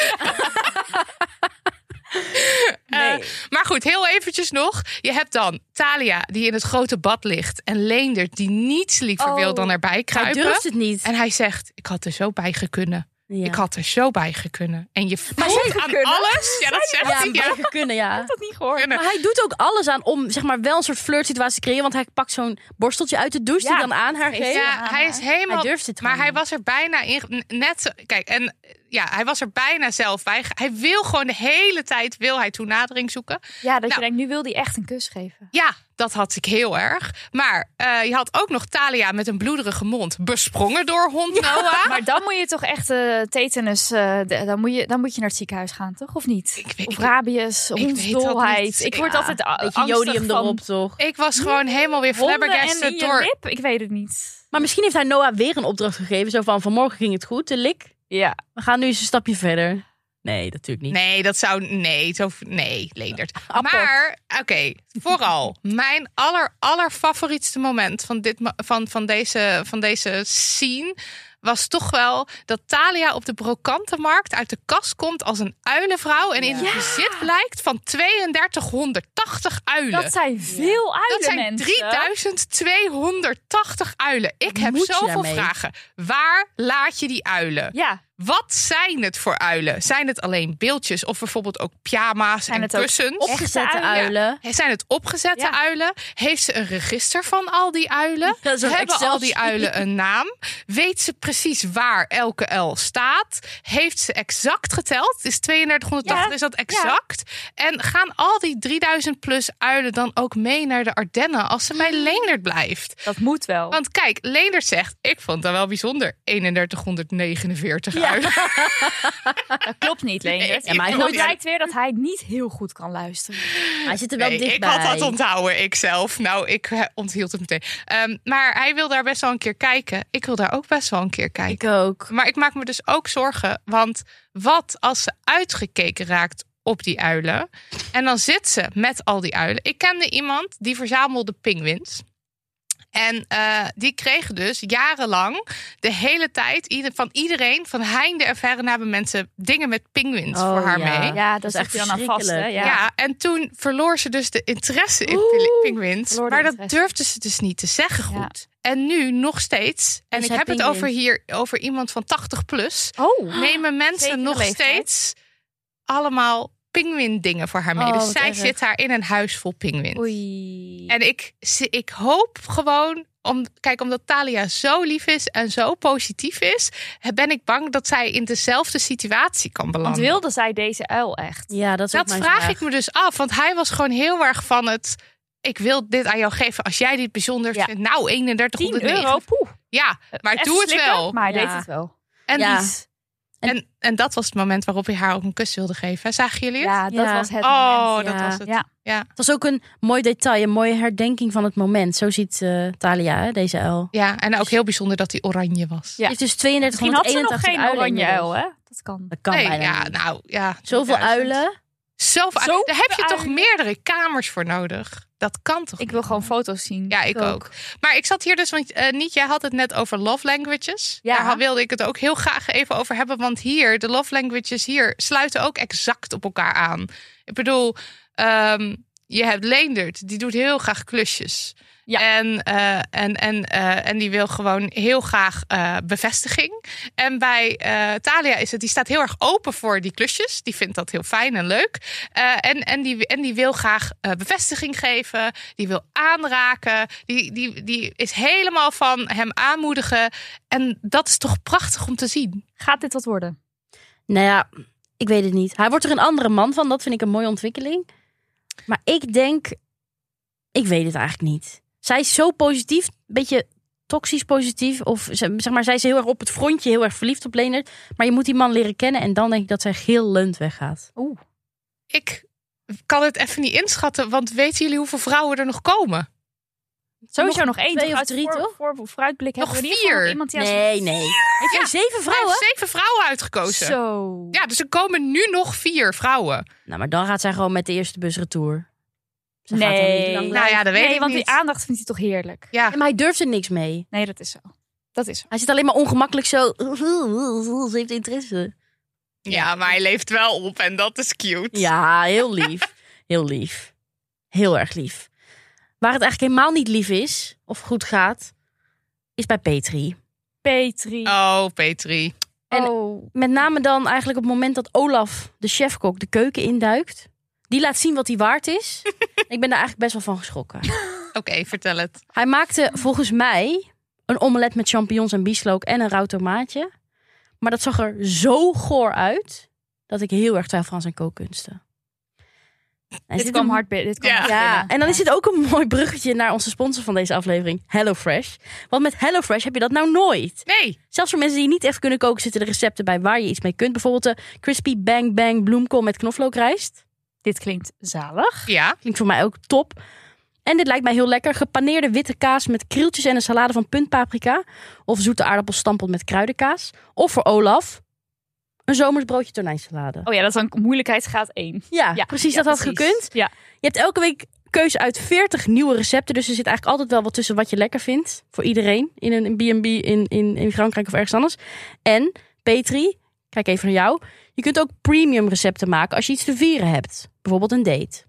[SPEAKER 1] Nee.
[SPEAKER 3] Eh, maar goed, heel eventjes nog. Je hebt dan Talia, die in het grote bad ligt. En Leendert, die niets liever
[SPEAKER 2] Oh.
[SPEAKER 3] wil dan erbij
[SPEAKER 1] Hij
[SPEAKER 3] kruipen.
[SPEAKER 1] durft het niet.
[SPEAKER 3] En hij zegt, ik had er zo bij gekunnen.
[SPEAKER 1] Ja.
[SPEAKER 3] Ik had er zo bij gekunnen. En je voelt
[SPEAKER 1] zeker
[SPEAKER 3] aan
[SPEAKER 1] kunnen.
[SPEAKER 3] alles. Ja, dat zegt
[SPEAKER 1] ja,
[SPEAKER 3] hij. Ja.
[SPEAKER 1] beter kunnen, ja.
[SPEAKER 2] Dat niet gehoord.
[SPEAKER 1] Maar hij doet ook alles aan om zeg maar wel een soort flirtsituatie te creëren. Want hij pakt zo'n borsteltje uit de douche
[SPEAKER 2] Ja.
[SPEAKER 1] die dan aan haar geeft.
[SPEAKER 3] Ja, hij is helemaal...
[SPEAKER 1] Hij durft het
[SPEAKER 3] Maar
[SPEAKER 1] gewoon
[SPEAKER 3] hij
[SPEAKER 1] niet.
[SPEAKER 3] was er bijna in, n- net zo- kijk en eh, ja, hij was er bijna zelf bij. Hij wil gewoon de hele tijd wil hij toenadering zoeken.
[SPEAKER 2] Ja, dat
[SPEAKER 3] Nou.
[SPEAKER 2] je denkt, nu wil hij echt een kus geven.
[SPEAKER 3] Ja, dat had ik heel erg. Maar eh, je had ook nog Talia met een bloederige mond, besprongen door hond Noah.
[SPEAKER 2] Maar dan moet je toch echt eh, tetanus, eh, de- dan, moet je, dan moet je naar het ziekenhuis gaan, toch? Of niet?
[SPEAKER 3] Ik weet-
[SPEAKER 2] of
[SPEAKER 3] ik- weet
[SPEAKER 2] rabius,
[SPEAKER 3] dat niet.
[SPEAKER 2] hondsdolheid. Ik word
[SPEAKER 3] Ja,
[SPEAKER 2] altijd a-
[SPEAKER 1] Beetje
[SPEAKER 2] angstig
[SPEAKER 1] jodium
[SPEAKER 2] van
[SPEAKER 1] erop, toch?
[SPEAKER 3] Ik was gewoon helemaal weer
[SPEAKER 2] honden en
[SPEAKER 3] flabbergasted
[SPEAKER 2] in
[SPEAKER 3] door.
[SPEAKER 2] je lip. Ik weet het niet.
[SPEAKER 1] Maar misschien heeft hij Noah weer een opdracht gegeven. Zo van, vanmorgen ging het goed, de lik.
[SPEAKER 2] Ja.
[SPEAKER 1] We gaan nu eens een stapje verder. Nee, natuurlijk niet.
[SPEAKER 3] Nee, dat zou. Nee, zo, nee, Leendert.
[SPEAKER 1] Apport.
[SPEAKER 3] Maar, oké, vooral. Mijn aller, aller favorietste moment van, dit, ma- van, van, deze, van deze scene was toch wel dat Talia op de brokantenmarkt uit de kast komt als een uilenvrouw. En in het bezit blijkt van 3280 uilen.
[SPEAKER 2] Dat zijn veel uilen,
[SPEAKER 3] Dat zijn
[SPEAKER 2] mensen.
[SPEAKER 3] 3280 uilen. Ik heb
[SPEAKER 1] moet je
[SPEAKER 3] zoveel
[SPEAKER 1] daarmee?
[SPEAKER 3] vragen. Waar laat je die uilen?
[SPEAKER 2] Ja,
[SPEAKER 3] Wat zijn het voor uilen? Zijn het alleen beeldjes of bijvoorbeeld ook pyjama's
[SPEAKER 2] Zijn
[SPEAKER 3] en
[SPEAKER 2] het ook
[SPEAKER 3] kussens?
[SPEAKER 2] op-
[SPEAKER 1] Opgezette
[SPEAKER 2] Echte uilen.
[SPEAKER 1] uilen.
[SPEAKER 3] Zijn het opgezette
[SPEAKER 2] Ja.
[SPEAKER 3] uilen? Heeft ze een register van al die uilen?
[SPEAKER 1] Ja, zo'n
[SPEAKER 3] Hebben al die
[SPEAKER 1] Excel-sheet.
[SPEAKER 3] uilen een naam? Weet ze precies waar elke L staat? Heeft ze exact geteld? Het is 3280,
[SPEAKER 2] Ja.
[SPEAKER 3] is dat exact? En gaan al die 3000 plus uilen dan ook mee naar de Ardennen als ze bij Leendert blijft?
[SPEAKER 2] dat moet wel.
[SPEAKER 3] Want kijk, Leendert zegt, ik vond dat wel bijzonder. 3149
[SPEAKER 1] Ja.
[SPEAKER 3] uilen.
[SPEAKER 2] dat klopt niet, Leendert.
[SPEAKER 3] Ja,
[SPEAKER 1] maar hij
[SPEAKER 2] En
[SPEAKER 1] wil-
[SPEAKER 2] het blijkt weer dat hij niet heel goed kan luisteren.
[SPEAKER 1] Hij zit er wel
[SPEAKER 3] Nee, ik
[SPEAKER 1] dichtbij.
[SPEAKER 3] had dat onthouden, ik zelf. Nou, ik eh, onthield het meteen. Ehm, maar hij wil daar best wel een keer kijken. Ik wil daar ook best wel een keer kijken.
[SPEAKER 1] Ik ook.
[SPEAKER 3] Maar ik maak me dus ook zorgen. Want wat als ze uitgekeken raakt op die uilen? En dan zit ze met al die uilen. Ik kende iemand die verzamelde pinguïns. En eh, die kregen dus jarenlang de hele tijd ieder- van iedereen, van heinde en verre hebben mensen dingen met pinguïns
[SPEAKER 1] Oh,
[SPEAKER 3] voor haar
[SPEAKER 1] ja.
[SPEAKER 3] mee.
[SPEAKER 2] Ja, dat is
[SPEAKER 1] echt
[SPEAKER 2] echt dan aan vast. Hè?
[SPEAKER 1] verschrikkelijk.
[SPEAKER 2] Ja.
[SPEAKER 3] Ja. en toen verloor ze dus de interesse in
[SPEAKER 2] Oeh,
[SPEAKER 3] pil- pinguïns.
[SPEAKER 2] verloor de
[SPEAKER 3] Maar dat
[SPEAKER 2] interesse.
[SPEAKER 3] durfde ze dus niet te zeggen
[SPEAKER 2] Ja.
[SPEAKER 3] goed. En nu nog steeds, en
[SPEAKER 1] Is
[SPEAKER 3] ik
[SPEAKER 1] hij
[SPEAKER 3] heb het
[SPEAKER 1] pinguïn?
[SPEAKER 3] over hier over iemand van 80 plus,
[SPEAKER 2] Oh,
[SPEAKER 3] nemen
[SPEAKER 2] zeker
[SPEAKER 3] mensen nog
[SPEAKER 2] leeftijd.
[SPEAKER 3] steeds allemaal pinguïndingen voor haar mee.
[SPEAKER 1] Oh,
[SPEAKER 3] dus
[SPEAKER 1] wat
[SPEAKER 3] zij
[SPEAKER 1] erg.
[SPEAKER 3] zit daar in een huis vol pinguïns.
[SPEAKER 2] oei.
[SPEAKER 3] En ik, ze- ik hoop gewoon, om, kijk, omdat Talia zo lief is en zo positief is, ben ik bang dat zij in dezelfde situatie kan
[SPEAKER 2] Want
[SPEAKER 3] belanden.
[SPEAKER 2] wilde zij deze uil echt?
[SPEAKER 1] Ja, dat is ook
[SPEAKER 3] Dat
[SPEAKER 1] mijn
[SPEAKER 3] vraag, ik me dus af, want hij was gewoon heel erg van het. Ik wil dit aan jou geven als jij dit bijzonder
[SPEAKER 2] Ja.
[SPEAKER 3] vindt. Nou,
[SPEAKER 2] 10
[SPEAKER 3] 3109.
[SPEAKER 2] euro, poeh.
[SPEAKER 3] Ja, maar
[SPEAKER 2] Even
[SPEAKER 3] doe het
[SPEAKER 2] slikken,
[SPEAKER 3] wel.
[SPEAKER 2] Maar hij
[SPEAKER 1] Ja.
[SPEAKER 2] deed het wel.
[SPEAKER 3] En,
[SPEAKER 1] Ja.
[SPEAKER 3] lief. En, en dat was het moment waarop hij haar ook een kus wilde geven. Zagen jullie het?
[SPEAKER 2] Ja, dat
[SPEAKER 1] Ja.
[SPEAKER 2] was het
[SPEAKER 3] oh,
[SPEAKER 2] moment.
[SPEAKER 3] dat
[SPEAKER 1] Ja.
[SPEAKER 3] was het.
[SPEAKER 2] Ja.
[SPEAKER 1] Het was ook een mooi detail, een mooie herdenking van het moment. Zo ziet eh, Thalia hè, deze uil.
[SPEAKER 3] Ja, en ook heel bijzonder dat hij oranje was.
[SPEAKER 2] Ja.
[SPEAKER 1] Die heeft dus
[SPEAKER 2] Misschien had ze nog
[SPEAKER 1] 3281
[SPEAKER 2] geen
[SPEAKER 1] uilen
[SPEAKER 2] oranje
[SPEAKER 1] inmiddels.
[SPEAKER 2] uil, hè? Dat kan.
[SPEAKER 1] Dat kan
[SPEAKER 3] nee,
[SPEAKER 1] bijna
[SPEAKER 3] ja,
[SPEAKER 1] niet.
[SPEAKER 3] nou ja.
[SPEAKER 1] Zoveel
[SPEAKER 3] 2000.
[SPEAKER 1] uilen.
[SPEAKER 3] Zoveel uilen. Daar heb je toch
[SPEAKER 2] uilen.
[SPEAKER 3] meerdere kamers voor nodig? Dat kan toch?
[SPEAKER 2] Ik wil gewoon foto's zien.
[SPEAKER 3] Ja, ik ook. Maar ik zat hier dus, want eh, Niet, jij had het net over love languages.
[SPEAKER 2] Ja.
[SPEAKER 3] Daar wilde ik het ook heel graag even over hebben. Want hier, de love languages hier sluiten ook exact op elkaar aan. Ik bedoel, ehm, je hebt Leendert, die doet heel graag klusjes.
[SPEAKER 2] Ja.
[SPEAKER 3] En, eh, en, en, eh, en die wil gewoon heel graag eh, bevestiging. En bij eh, Thalia is het, die staat heel erg open voor die klusjes. Die vindt dat heel fijn en leuk. Eh, en, en, die, en die wil graag eh, bevestiging geven. Die wil aanraken. Die, die, die is helemaal van hem aanmoedigen. En dat is toch prachtig om te zien.
[SPEAKER 2] Gaat dit wat worden?
[SPEAKER 1] Nou ja, ik weet het niet. Hij wordt er een andere man van. Dat vind ik een mooie ontwikkeling. Maar ik denk... Ik weet het eigenlijk niet. Zij is zo positief. Een beetje toxisch positief. Of ze- zeg maar, zij is heel erg op het frontje. Heel erg verliefd op Leonard. Maar je moet die man leren kennen. En dan denk ik dat zij gillend weggaat.
[SPEAKER 2] Oeh.
[SPEAKER 3] Ik kan het even niet inschatten. Want weten jullie hoeveel vrouwen er nog komen?
[SPEAKER 2] Sowieso nog, één.
[SPEAKER 1] twee
[SPEAKER 2] toch?
[SPEAKER 1] of
[SPEAKER 2] Uit
[SPEAKER 1] drie,
[SPEAKER 2] voor,
[SPEAKER 1] toch?
[SPEAKER 2] Voor, vooruitblik
[SPEAKER 3] Nog
[SPEAKER 2] hebben we in ieder geval
[SPEAKER 3] vier.
[SPEAKER 2] nog iemand die als-
[SPEAKER 1] nee, nee. Heeft
[SPEAKER 3] Ja.
[SPEAKER 1] hij zeven
[SPEAKER 3] Hij
[SPEAKER 1] vrouwen?
[SPEAKER 3] heeft zeven vrouwen uitgekozen.
[SPEAKER 2] Zo.
[SPEAKER 3] Ja, dus er komen nu nog vier vrouwen.
[SPEAKER 1] Nou, maar dan gaat zij gewoon met de eerste bus retour. Ze gaat dan niet
[SPEAKER 2] nee.
[SPEAKER 1] lang
[SPEAKER 3] Nou ja, dat weet
[SPEAKER 2] nee,
[SPEAKER 3] ik
[SPEAKER 2] want
[SPEAKER 3] niet.
[SPEAKER 2] die aandacht vindt hij toch heerlijk.
[SPEAKER 3] Ja.
[SPEAKER 1] Ja, maar hij durft er niks mee.
[SPEAKER 2] Nee, dat is zo. Dat is zo.
[SPEAKER 1] Hij zit alleen maar ongemakkelijk zo. Ze heeft interesse.
[SPEAKER 3] ja, maar hij leeft wel op en dat is cute.
[SPEAKER 1] Ja, heel lief. Heel lief. Heel erg lief. Waar het eigenlijk helemaal niet lief is, of goed gaat, is bij Petri.
[SPEAKER 2] Petri.
[SPEAKER 3] Oh, Petri.
[SPEAKER 1] en-
[SPEAKER 2] oh.
[SPEAKER 1] Met name dan eigenlijk op het moment dat Olaf, de chefkok, de keuken induikt. Die laat zien wat hij waard is. Ik ben daar eigenlijk best wel van geschrokken.
[SPEAKER 3] Oké, vertel het.
[SPEAKER 1] Hij maakte volgens mij een omelet met champignons en bieslook en een rauw tomaatje. Maar dat zag er zo goor uit dat ik heel erg twijfel aan zijn kookkunsten. En
[SPEAKER 2] Dit
[SPEAKER 1] zit
[SPEAKER 2] kwam
[SPEAKER 1] hem-
[SPEAKER 2] hard binnen. Dit kwam
[SPEAKER 3] Ja.
[SPEAKER 2] hard
[SPEAKER 1] Ja,
[SPEAKER 2] binnen.
[SPEAKER 1] en dan is
[SPEAKER 2] Ja.
[SPEAKER 1] dit ook een mooi bruggetje naar onze sponsor van deze aflevering, HelloFresh. Want met HelloFresh heb je dat nou nooit.
[SPEAKER 3] Nee.
[SPEAKER 1] Zelfs voor mensen die niet echt kunnen koken, zitten er recepten bij waar je iets mee kunt. Bijvoorbeeld de crispy bang bang bloemkool met knoflookrijst.
[SPEAKER 2] Dit klinkt zalig.
[SPEAKER 3] Ja.
[SPEAKER 1] Klinkt voor mij ook top. En dit lijkt mij heel lekker. Gepaneerde witte kaas met krieltjes en een salade van puntpaprika. Of zoete aardappelstampot met kruidenkaas. Of voor Olaf, een zomers broodje tonijnsalade.
[SPEAKER 2] Oh ja, dat is dan moeilijkheidsgraad 1.
[SPEAKER 1] ja,
[SPEAKER 2] Ja,
[SPEAKER 1] precies,
[SPEAKER 2] ja,
[SPEAKER 1] dat had
[SPEAKER 2] precies.
[SPEAKER 1] gekund.
[SPEAKER 2] Ja.
[SPEAKER 1] Je hebt elke week keuze uit 40 nieuwe recepten. Dus er zit eigenlijk altijd wel wat tussen wat je lekker vindt. Voor iedereen. In een B&B in, in, in Frankrijk of ergens anders. En Petri, kijk even naar jou. Je kunt ook premium recepten maken als je iets te vieren hebt. Bijvoorbeeld een date.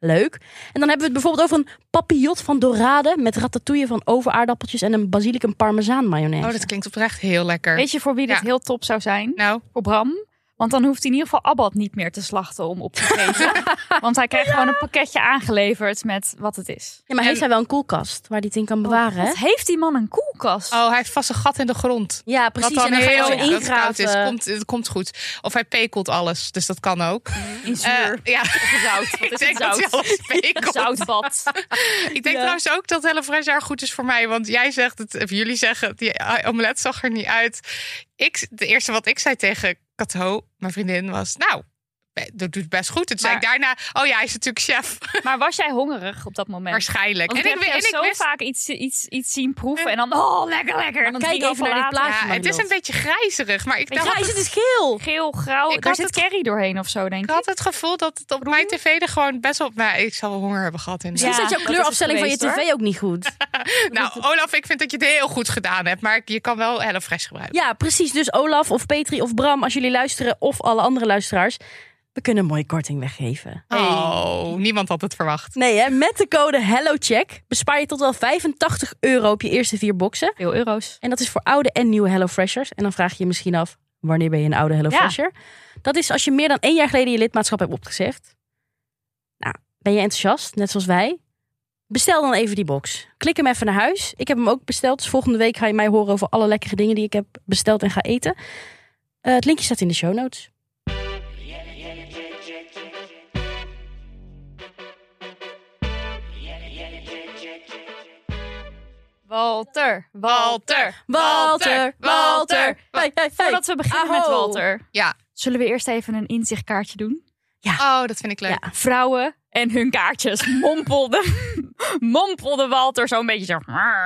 [SPEAKER 1] Leuk. En dan hebben we het bijvoorbeeld over een papillot van dorade... met ratatouille van overaardappeltjes en een basilicum parmezaan mayonaise.
[SPEAKER 3] Oh, dat klinkt oprecht heel lekker.
[SPEAKER 2] Weet je voor wie dit
[SPEAKER 3] Ja.
[SPEAKER 2] heel top zou zijn?
[SPEAKER 3] Nou,
[SPEAKER 2] Voor Bram. Want dan hoeft hij in ieder geval Abad niet meer te slachten om op te geven. want hij krijgt gewoon een pakketje aangeleverd met wat het is.
[SPEAKER 1] ja, maar heeft
[SPEAKER 3] en-
[SPEAKER 1] hij wel een koelkast waar hij het in kan bewaren? hè?
[SPEAKER 2] Wat heeft die man een koelkast?
[SPEAKER 3] oh, hij heeft vast een gat in de grond.
[SPEAKER 1] Ja, precies.
[SPEAKER 3] Wat
[SPEAKER 1] en
[SPEAKER 3] dan
[SPEAKER 1] dan ga je
[SPEAKER 3] heel
[SPEAKER 1] zo
[SPEAKER 3] dat het koud is.
[SPEAKER 1] ingraven.
[SPEAKER 3] Komt, het komt goed. Of hij pekelt alles, dus dat kan ook.
[SPEAKER 2] In zuur.
[SPEAKER 3] Eh, ja,
[SPEAKER 2] Of zout. Wat
[SPEAKER 3] ik
[SPEAKER 2] is
[SPEAKER 3] denk
[SPEAKER 2] het
[SPEAKER 3] dat hij
[SPEAKER 2] zout?
[SPEAKER 3] alles
[SPEAKER 2] Een
[SPEAKER 3] pekelt.
[SPEAKER 2] zoutbad.
[SPEAKER 3] Ik denk
[SPEAKER 1] Ja.
[SPEAKER 3] trouwens ook dat HelloFresh erg goed is voor mij. Want jij zegt het, of jullie zeggen, die omelet zag er niet uit. Ik, de eerste wat ik zei tegen Cato, mijn vriendin, was... Nou, dat doet best goed. Toen zei
[SPEAKER 2] Maar-
[SPEAKER 3] ik daarna, oh ja, hij is natuurlijk chef.
[SPEAKER 2] Maar was jij hongerig op dat moment?
[SPEAKER 3] Waarschijnlijk.
[SPEAKER 2] Want ik heb
[SPEAKER 3] we-
[SPEAKER 2] jou zo
[SPEAKER 3] wist-
[SPEAKER 2] vaak iets, iets, iets zien proeven en dan, oh, lekker, lekker. En dan
[SPEAKER 1] kijk
[SPEAKER 2] drie dagen
[SPEAKER 1] even naar dit
[SPEAKER 2] later-
[SPEAKER 1] plaatje.
[SPEAKER 3] ja, het is een beetje grijzerig, maar ik,
[SPEAKER 1] Ja,
[SPEAKER 3] dacht,
[SPEAKER 1] hij is het is geel.
[SPEAKER 2] Geel, grauw,
[SPEAKER 3] Ik
[SPEAKER 2] daar
[SPEAKER 3] had
[SPEAKER 2] zit
[SPEAKER 3] het-
[SPEAKER 2] curry doorheen of zo, denk
[SPEAKER 3] ik
[SPEAKER 2] ik.
[SPEAKER 3] had het gevoel dat het op mijn tv er gewoon best wel... Nou, ik zal wel honger hebben gehad. In
[SPEAKER 2] Ja,
[SPEAKER 1] Misschien zat
[SPEAKER 2] dat
[SPEAKER 1] jouw
[SPEAKER 2] is
[SPEAKER 1] kleurafstelling van je
[SPEAKER 2] het
[SPEAKER 1] tv
[SPEAKER 2] geweest,
[SPEAKER 1] ook niet goed.
[SPEAKER 3] Nou, Olaf, ik vind dat je het heel goed gedaan hebt, maar je kan wel HelloFresh gebruiken.
[SPEAKER 1] Ja, precies. Dus Olaf of Petri of Bram, als jullie luisteren, of alle andere luisteraars, we kunnen een mooie korting weggeven.
[SPEAKER 3] Oh, niemand had het verwacht.
[SPEAKER 1] Nee, hè? met de code HelloCheck bespaar je tot wel 85 euro op je eerste vier boxen.
[SPEAKER 2] Veel euro's.
[SPEAKER 1] En dat is voor oude en nieuwe HelloFreshers. En dan vraag je je misschien af, wanneer ben je een oude HelloFresher? Dat is als je meer dan één jaar geleden je lidmaatschap hebt opgezegd. Nou, ben je enthousiast, net zoals wij? Bestel dan even die box. Klik hem even naar huis. Ik heb hem ook besteld. Dus volgende week ga je mij horen over alle lekkere dingen die ik heb besteld en ga eten. Eh, het linkje staat in de show notes.
[SPEAKER 2] Walter, Walter,
[SPEAKER 1] Walter, Walter. Hey, hey, hey.
[SPEAKER 2] Voordat we beginnen
[SPEAKER 1] Aho.
[SPEAKER 2] met Walter,
[SPEAKER 3] Ja.
[SPEAKER 2] zullen we eerst even een inzichtkaartje doen?
[SPEAKER 3] Oh, dat vind ik leuk.
[SPEAKER 1] Ja.
[SPEAKER 2] Vrouwen en hun kaartjes mompelde, mompelde Walter zo'n beetje zo.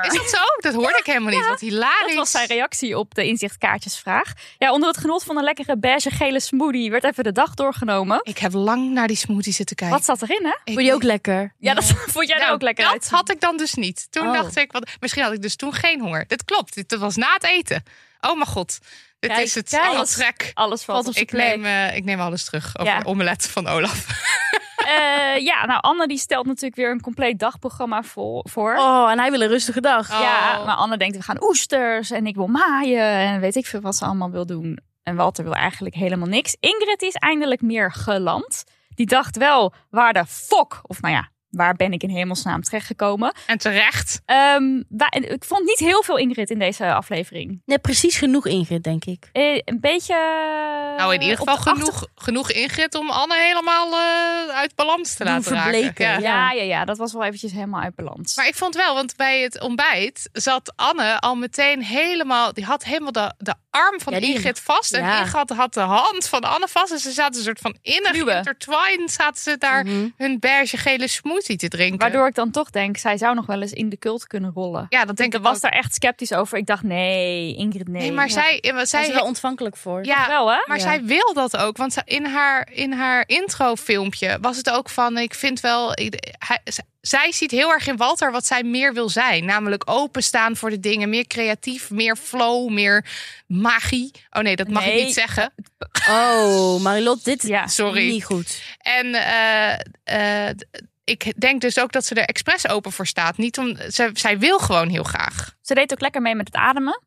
[SPEAKER 3] Is dat zo? Dat hoorde ik helemaal niet. Wat hilarisch.
[SPEAKER 2] Dat was zijn reactie op de inzichtkaartjesvraag. Ja, onder het genot van een lekkere beige-gele smoothie werd even de dag doorgenomen.
[SPEAKER 3] Ik heb lang naar die smoothie zitten kijken.
[SPEAKER 2] Wat zat erin, hè?
[SPEAKER 3] Ik-
[SPEAKER 1] Vond je ook lekker?
[SPEAKER 2] Ja, dat vond jij er
[SPEAKER 3] Nou,
[SPEAKER 2] ook lekker
[SPEAKER 3] dat
[SPEAKER 2] uit.
[SPEAKER 3] had ik dan dus niet. Toen
[SPEAKER 1] Oh.
[SPEAKER 3] dacht ik, want misschien had ik dus toen geen honger. Dit klopt, dit was na het eten. Oh mijn god, dit
[SPEAKER 2] Kijk,
[SPEAKER 3] is het
[SPEAKER 2] kijk.
[SPEAKER 3] alles rek.
[SPEAKER 2] Alles
[SPEAKER 1] Valt
[SPEAKER 2] valt op
[SPEAKER 1] op
[SPEAKER 2] zijn
[SPEAKER 3] Ik
[SPEAKER 2] plek.
[SPEAKER 3] neem, eh, ik neem alles terug over
[SPEAKER 2] Ja.
[SPEAKER 3] de omelet van Olaf.
[SPEAKER 2] Eh, ja, nou, Anne die stelt natuurlijk weer een compleet dagprogramma vo- voor.
[SPEAKER 1] Oh, en hij wil een rustige dag.
[SPEAKER 3] Oh.
[SPEAKER 2] Ja, maar Anne denkt, we gaan oesters en ik wil maaien en weet ik veel wat ze allemaal wil doen. En Walter wil eigenlijk helemaal niks. Ingrid is eindelijk meer geland. Die dacht wel, waar de fok, of nou ja, waar ben ik in hemelsnaam terechtgekomen?
[SPEAKER 3] En terecht.
[SPEAKER 2] Ehm wa- en ik vond niet heel veel Ingrid in deze aflevering.
[SPEAKER 1] Net precies genoeg Ingrid, denk ik.
[SPEAKER 2] Eh, een beetje... eh,
[SPEAKER 3] Nou, in ieder
[SPEAKER 2] op
[SPEAKER 3] geval
[SPEAKER 2] de achter-
[SPEAKER 3] genoeg, genoeg ingrit om Anne helemaal eh, uit balans te
[SPEAKER 1] Doen
[SPEAKER 3] laten raken.
[SPEAKER 1] verbleken,
[SPEAKER 3] Ja.
[SPEAKER 1] ja.
[SPEAKER 2] Ja, ja, ja, dat was wel eventjes helemaal uit balans.
[SPEAKER 3] Maar ik vond wel, want bij het ontbijt zat Anne al meteen helemaal... Die had helemaal de, de arm van
[SPEAKER 1] Ja, die-
[SPEAKER 3] Ingrid vast. En
[SPEAKER 1] ja.
[SPEAKER 3] Ingrid had de hand van Anne vast. En ze zaten een soort van innig
[SPEAKER 2] Kluwen.
[SPEAKER 3] intertwined. Zaten ze daar
[SPEAKER 1] Mhm.
[SPEAKER 3] hun beige-gele smoothie te drinken.
[SPEAKER 2] Waardoor ik dan toch denk, zij zou nog wel eens in de cult kunnen rollen.
[SPEAKER 3] Ja, dat denk
[SPEAKER 2] Ik
[SPEAKER 3] ik
[SPEAKER 2] was
[SPEAKER 3] ook.
[SPEAKER 2] daar echt sceptisch over. Ik dacht, nee, Ingrid, nee.
[SPEAKER 3] Oh. Nee, maar
[SPEAKER 2] Ja.
[SPEAKER 3] zij... eh, maar
[SPEAKER 1] Zij is er wel
[SPEAKER 3] zij
[SPEAKER 1] ontvankelijk voor.
[SPEAKER 3] ja,
[SPEAKER 2] wel, hè?
[SPEAKER 3] maar
[SPEAKER 1] Ja.
[SPEAKER 3] zij wil dat ook. Want ze- in haar, in haar introfilmpje was het ook van... Ik vind wel... ik- hij- z- zij ziet heel erg in Walter wat zij meer wil zijn. Namelijk openstaan voor de dingen. Meer creatief, meer flow, meer magie. Oh nee, dat mag
[SPEAKER 2] Nee.
[SPEAKER 3] ik niet zeggen.
[SPEAKER 1] Oh, Marilot, dit
[SPEAKER 2] Ja.
[SPEAKER 1] is
[SPEAKER 3] Sorry.
[SPEAKER 1] niet goed.
[SPEAKER 3] En eh, eh, d- ik denk dus ook dat ze er expres open voor staat. Niet om, ze, zij wil gewoon heel graag.
[SPEAKER 2] Ze deed ook lekker mee met het ademen.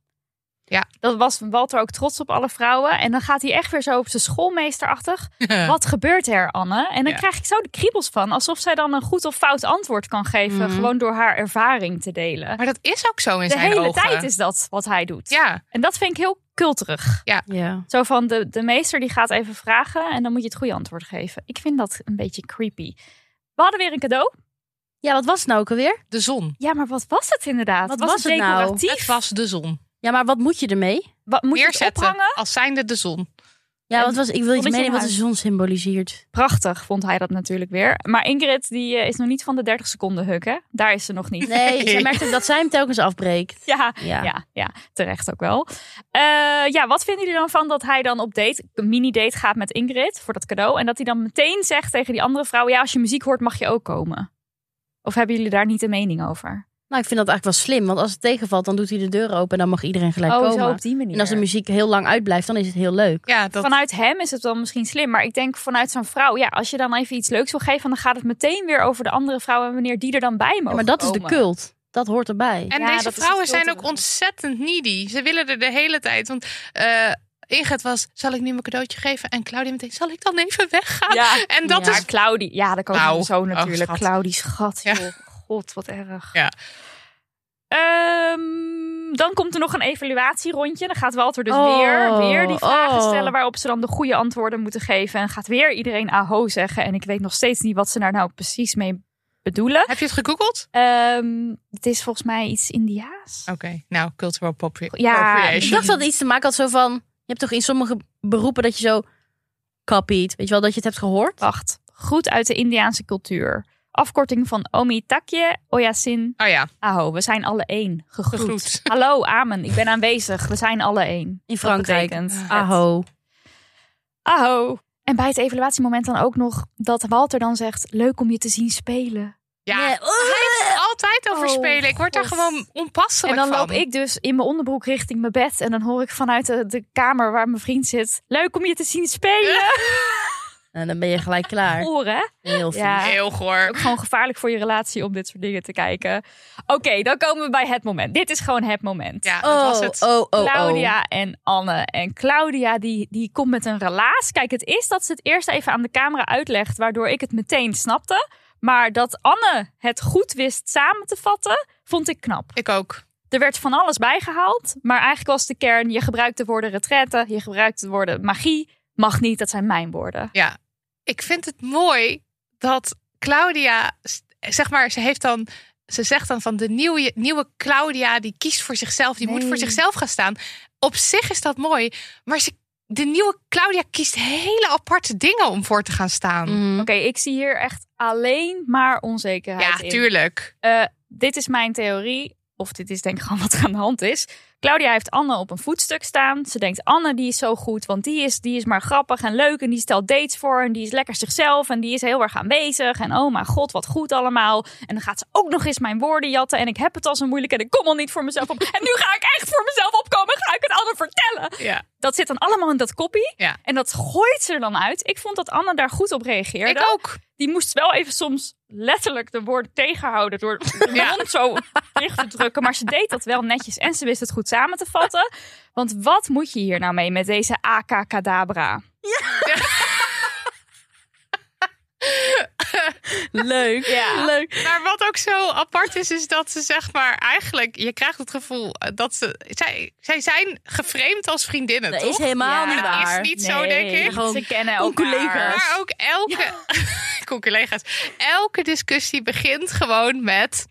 [SPEAKER 3] Ja.
[SPEAKER 2] Dat was Walter ook trots op alle vrouwen. En dan gaat hij echt weer zo op zijn schoolmeesterachtig. Wat gebeurt er, Anne? En dan
[SPEAKER 3] Ja.
[SPEAKER 2] krijg ik zo de kriebels van. Alsof zij dan een goed of fout antwoord kan geven.
[SPEAKER 1] Mhm.
[SPEAKER 2] Gewoon door haar ervaring te delen.
[SPEAKER 3] Maar dat is ook zo in
[SPEAKER 2] De
[SPEAKER 3] zijn
[SPEAKER 2] hele
[SPEAKER 3] ogen.
[SPEAKER 2] tijd is dat wat hij doet.
[SPEAKER 3] Ja,
[SPEAKER 2] En dat vind ik heel kulterig.
[SPEAKER 1] Ja.
[SPEAKER 2] Zo van, de, de meester die gaat even vragen. En dan moet je het goede antwoord geven. Ik vind dat een beetje creepy. We hadden weer een cadeau.
[SPEAKER 1] ja, wat was het nou ook alweer?
[SPEAKER 3] de zon.
[SPEAKER 2] Ja, maar wat was het inderdaad?
[SPEAKER 1] Wat was het nou?
[SPEAKER 2] decoratief?
[SPEAKER 3] Het was de zon.
[SPEAKER 1] Ja, maar wat moet je ermee?
[SPEAKER 2] Wat, moet je het
[SPEAKER 3] Neerzetten
[SPEAKER 2] ophangen?
[SPEAKER 3] als zijnde de zon.
[SPEAKER 1] Ja,
[SPEAKER 2] En-
[SPEAKER 1] want was, ik wil iets
[SPEAKER 2] Zonnetje
[SPEAKER 1] meenemen
[SPEAKER 2] in
[SPEAKER 1] wat de
[SPEAKER 2] huis.
[SPEAKER 1] zon symboliseert.
[SPEAKER 2] Prachtig vond hij dat natuurlijk weer. Maar Ingrid die eh, is nog niet van de 30 seconden huk, hè? Daar is ze nog niet.
[SPEAKER 1] Nee, zij merkt ook dat zij hem telkens afbreekt.
[SPEAKER 2] Ja,
[SPEAKER 1] Ja.
[SPEAKER 2] ja, ja, terecht ook wel. Eh, ja, wat vinden jullie dan van dat hij dan op date, een mini-date gaat met Ingrid voor dat cadeau? En dat hij dan meteen zegt tegen die andere vrouw, ja, als je muziek hoort mag je ook komen. Of hebben jullie daar niet een mening over?
[SPEAKER 1] Nou, ik vind dat eigenlijk wel slim. Want als het tegenvalt, dan doet hij de deur open en dan mag iedereen gelijk
[SPEAKER 2] oh, zo
[SPEAKER 1] komen.
[SPEAKER 2] op die manier.
[SPEAKER 1] En als de muziek heel lang uitblijft, dan is het heel leuk.
[SPEAKER 3] Ja, dat,
[SPEAKER 2] Vanuit hem is het dan misschien slim, maar ik denk vanuit zo'n vrouw, ja, als je dan even iets leuks wil geven, dan gaat het meteen weer over de andere vrouw en wanneer die er dan bij mogen
[SPEAKER 1] Ja, maar dat is de
[SPEAKER 2] komen.
[SPEAKER 1] cult. Dat hoort erbij.
[SPEAKER 3] En
[SPEAKER 2] Ja,
[SPEAKER 3] deze
[SPEAKER 2] dat is
[SPEAKER 3] vrouwen
[SPEAKER 2] het
[SPEAKER 3] zijn ook
[SPEAKER 2] filter.
[SPEAKER 3] ontzettend needy. Ze willen er de hele tijd. Want eh Ingrid was, zal ik nu mijn cadeautje geven? En Claudia meteen, zal ik dan even weggaan?
[SPEAKER 2] Ja.
[SPEAKER 3] En dat
[SPEAKER 1] Ja.
[SPEAKER 2] Maar
[SPEAKER 3] is...
[SPEAKER 2] Claudie, ja, daar komen
[SPEAKER 3] Nou,
[SPEAKER 2] we zo
[SPEAKER 3] oh,
[SPEAKER 2] natuurlijk.
[SPEAKER 3] schat.
[SPEAKER 2] Claudie, schat,
[SPEAKER 3] Ja.
[SPEAKER 2] joh. God, wat erg.
[SPEAKER 3] Ja.
[SPEAKER 2] Ehm, dan komt er nog een evaluatierondje. Dan gaat Walter dus
[SPEAKER 1] Oh,
[SPEAKER 2] weer, weer die vragen
[SPEAKER 1] oh.
[SPEAKER 2] stellen waarop ze dan de goede antwoorden moeten geven. En gaat weer iedereen aho zeggen. En ik weet nog steeds niet wat ze daar nou precies mee bedoelen.
[SPEAKER 3] Heb je het gegoogeld?
[SPEAKER 2] Ehm, het is volgens mij iets Indiaas.
[SPEAKER 3] Oké, nou, cultural appropri-
[SPEAKER 2] Ja,
[SPEAKER 3] appropriation.
[SPEAKER 1] Ik dacht dat het iets te maken had zo van... Je hebt toch in sommige beroepen dat je zo copied. Weet je wel dat je het hebt gehoord?
[SPEAKER 2] Wacht. Goed uit de Indiaanse cultuur. Afkorting van Omi Takje, Oyasin,
[SPEAKER 3] Oh ja,
[SPEAKER 2] Aho. We zijn alle één. Gegroet.
[SPEAKER 3] Gegroet.
[SPEAKER 2] Hallo, amen. Ik ben aanwezig. We zijn alle één.
[SPEAKER 1] In
[SPEAKER 2] Dat
[SPEAKER 1] Frankrijk.
[SPEAKER 2] betekent het.
[SPEAKER 1] Aho.
[SPEAKER 2] Aho. En bij het evaluatiemoment dan ook nog dat Walter dan zegt: Leuk om je te zien spelen.
[SPEAKER 3] ja.
[SPEAKER 1] Nee. Oh.
[SPEAKER 3] Altijd over
[SPEAKER 2] Oh,
[SPEAKER 3] spelen. Ik word daar
[SPEAKER 2] God.
[SPEAKER 3] gewoon onpasselijk
[SPEAKER 2] en dan
[SPEAKER 3] van.
[SPEAKER 2] loop ik dus in mijn onderbroek richting mijn bed. En dan hoor ik vanuit de, de kamer waar mijn vriend zit: Leuk om je te zien spelen.
[SPEAKER 1] En Nou, dan ben je gelijk klaar.
[SPEAKER 2] Horen, hè?
[SPEAKER 1] Heel vies.
[SPEAKER 2] Ja.
[SPEAKER 3] Heel goor.
[SPEAKER 2] Ook gewoon gevaarlijk voor je relatie om dit soort dingen te kijken. Oké, dan komen we bij het moment. Dit is gewoon het moment.
[SPEAKER 3] Ja, dat
[SPEAKER 1] Oh,
[SPEAKER 3] was het.
[SPEAKER 1] oh, oh, oh.
[SPEAKER 2] Claudia en Anne. En Claudia die, die komt met een relaas. Kijk, het is dat ze het eerst even aan de camera uitlegt, waardoor ik het meteen snapte. Maar dat Anne het goed wist samen te vatten, vond ik knap.
[SPEAKER 3] Ik ook.
[SPEAKER 2] Er werd van alles bijgehaald, maar eigenlijk was de kern: je gebruikt de woorden retraite, je gebruikt de woorden magie. Mag niet, dat zijn mijn woorden.
[SPEAKER 3] Ja. Ik vind het mooi dat Claudia, s- zeg maar, ze heeft dan. Ze zegt dan van de nieuwe, nieuwe Claudia, die kiest voor zichzelf, die moet
[SPEAKER 2] Nee.
[SPEAKER 3] voor zichzelf gaan staan. Op zich is dat mooi, maar ze, de nieuwe Claudia kiest hele aparte dingen om voor te gaan staan.
[SPEAKER 1] Mhm.
[SPEAKER 2] Oké, ik zie hier echt alleen maar onzekerheid
[SPEAKER 3] ja,
[SPEAKER 2] in.
[SPEAKER 3] tuurlijk.
[SPEAKER 2] Eh, dit is mijn theorie. Of dit is denk ik gewoon wat er aan de hand is. Claudia heeft Anne op een voetstuk staan. Ze denkt, Anne die is zo goed, want die is, die is maar grappig en leuk. En die stelt dates voor en die is lekker zichzelf. En die is heel erg aanwezig. En oh mijn god, wat goed allemaal. En dan gaat ze ook nog eens mijn woorden jatten. En ik heb het al zo moeilijk en ik kom al niet voor mezelf op. En nu ga ik echt voor mezelf opkomen. Ga ik het Anne vertellen
[SPEAKER 3] Ja.
[SPEAKER 2] dat zit dan allemaal in dat koppie.
[SPEAKER 3] Ja.
[SPEAKER 2] En dat gooit ze er dan uit. Ik vond dat Anne daar goed op reageerde.
[SPEAKER 3] Ik ook.
[SPEAKER 2] Die moest wel even soms letterlijk de woorden tegenhouden door de
[SPEAKER 3] Ja.
[SPEAKER 2] mond zo dicht te drukken. Maar ze deed dat wel netjes en ze wist het goed samen te vatten. Want wat moet je hier nou mee met deze AK Kadabra?
[SPEAKER 1] Leuk.
[SPEAKER 2] Ja.
[SPEAKER 1] Leuk.
[SPEAKER 3] Maar wat ook zo apart is, is dat ze zeg maar eigenlijk, je krijgt het gevoel eh, dat ze, zij, zij zijn geframed als vriendinnen,
[SPEAKER 1] Dat
[SPEAKER 3] toch?
[SPEAKER 1] is helemaal
[SPEAKER 2] Ja,
[SPEAKER 1] niet
[SPEAKER 3] dat is
[SPEAKER 1] waar.
[SPEAKER 3] niet- zo, denk ik.
[SPEAKER 1] Gewoon
[SPEAKER 2] Ze kennen
[SPEAKER 1] gewoon
[SPEAKER 2] elkaar.
[SPEAKER 1] collega's.
[SPEAKER 3] Maar ook elke, Cool, collega's, elke discussie begint gewoon met,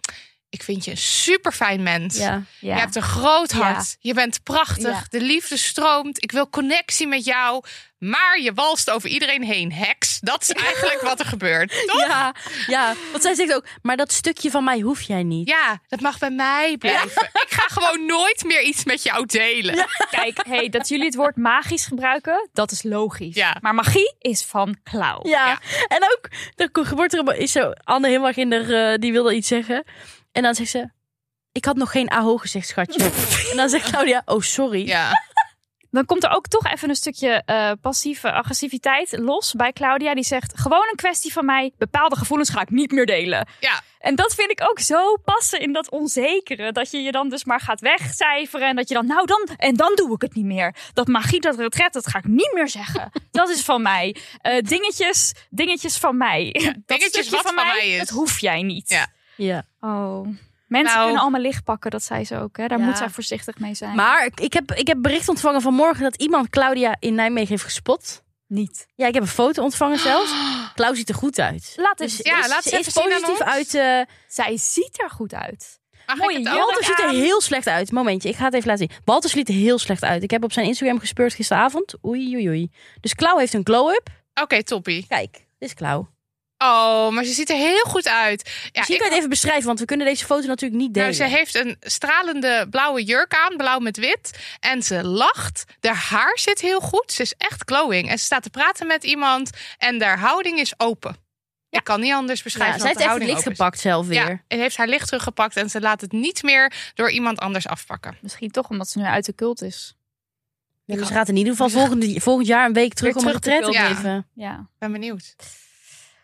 [SPEAKER 3] ik vind je een super fijn mens.
[SPEAKER 1] Ja.
[SPEAKER 2] Ja.
[SPEAKER 3] Je hebt een groot hart. Je bent prachtig.
[SPEAKER 2] Ja.
[SPEAKER 3] De liefde stroomt. Ik wil connectie met jou. Maar je walst over iedereen heen. Heks. Dat is eigenlijk wat er gebeurt. Toch?
[SPEAKER 1] Ja, ja, want zij zegt ook, maar dat stukje van mij hoef jij niet.
[SPEAKER 3] Ja, dat mag bij mij blijven. Ik ga gewoon nooit meer iets met jou delen.
[SPEAKER 2] Kijk, hey, dat jullie het woord magisch gebruiken, dat is logisch.
[SPEAKER 3] Ja.
[SPEAKER 2] Maar magie is van klauw.
[SPEAKER 1] Ja, en ook, dan gebeurt er is zo, Anne heel erg in de, eh, die wilde iets zeggen. En dan zegt ze, ik had nog geen aho gezegd, schatje. en dan zegt Claudia, oh sorry.
[SPEAKER 3] Ja.
[SPEAKER 2] Dan komt er ook toch even een stukje eh, passieve agressiviteit los bij Claudia. Die zegt, gewoon een kwestie van mij. Bepaalde gevoelens ga ik niet meer delen.
[SPEAKER 3] Ja.
[SPEAKER 2] En dat vind ik ook zo passen in dat onzekere. Dat je je dan dus maar gaat wegcijferen. En dat je dan, nou dan, en dan doe ik het niet meer. Dat magie, dat retret, dat ga ik niet meer zeggen. dat is van mij. Eh, dingetjes, dingetjes van mij. Dat
[SPEAKER 3] dingetjes
[SPEAKER 2] stukje
[SPEAKER 3] wat van mij is.
[SPEAKER 2] Dat hoef jij niet.
[SPEAKER 3] Ja.
[SPEAKER 1] Ja.
[SPEAKER 2] Oh. Mensen
[SPEAKER 3] Nou.
[SPEAKER 2] kunnen allemaal licht pakken, dat zei ze ook. Hè? Daar
[SPEAKER 1] Ja.
[SPEAKER 2] moet zij voorzichtig mee zijn.
[SPEAKER 1] Maar ik- ik heb, ik heb bericht ontvangen vanmorgen dat iemand Claudia in Nijmegen heeft gespot.
[SPEAKER 2] niet.
[SPEAKER 1] Ja, ik heb een foto ontvangen zelfs. Claudia ziet er goed uit.
[SPEAKER 2] Laat het,
[SPEAKER 1] Dus
[SPEAKER 3] Ja,
[SPEAKER 1] is-
[SPEAKER 3] laat
[SPEAKER 1] ze
[SPEAKER 3] ze
[SPEAKER 1] is
[SPEAKER 3] even zien aan
[SPEAKER 1] positief
[SPEAKER 3] ons.
[SPEAKER 1] uit. eh
[SPEAKER 2] Zij ziet er goed uit.
[SPEAKER 3] Mag
[SPEAKER 2] Mooi,
[SPEAKER 3] ik het ook?
[SPEAKER 1] Walter ziet er heel slecht uit. Momentje, ik ga het even laten zien. Walter ziet er heel slecht uit. Ik heb op zijn Instagram gespeurd gisteravond. Oei, oei, oei. Dus Klauw heeft een glow-up.
[SPEAKER 3] Oké, toppie.
[SPEAKER 1] Kijk, dit is Klauw.
[SPEAKER 3] Oh, maar ze ziet er heel goed uit. Ja,
[SPEAKER 1] Misschien kan
[SPEAKER 3] ik-
[SPEAKER 1] je het even beschrijven, want we kunnen deze foto natuurlijk niet delen.
[SPEAKER 3] nou, ze heeft een stralende blauwe jurk aan, blauw met wit. En ze lacht. Haar haar zit heel goed. Ze is echt glowing. En ze staat te praten met iemand. En haar houding is open. Ik kan niet anders beschrijven.
[SPEAKER 1] ja,
[SPEAKER 3] dan
[SPEAKER 1] zij heeft
[SPEAKER 3] dat
[SPEAKER 1] echt
[SPEAKER 3] de
[SPEAKER 1] het
[SPEAKER 3] houding
[SPEAKER 1] licht
[SPEAKER 3] open is.
[SPEAKER 1] gepakt zelf weer.
[SPEAKER 3] Ja, en heeft haar licht teruggepakt. En ze laat het niet meer door iemand anders afpakken.
[SPEAKER 2] Misschien toch omdat ze nu uit de cult is.
[SPEAKER 1] Ja, dus ze gaat in ieder geval volgende, volgend jaar een week terug
[SPEAKER 2] Weer
[SPEAKER 1] om een
[SPEAKER 2] terug te
[SPEAKER 1] retret te
[SPEAKER 3] filmen. Ja.
[SPEAKER 1] geven.
[SPEAKER 2] Ja.
[SPEAKER 3] Ik ben benieuwd.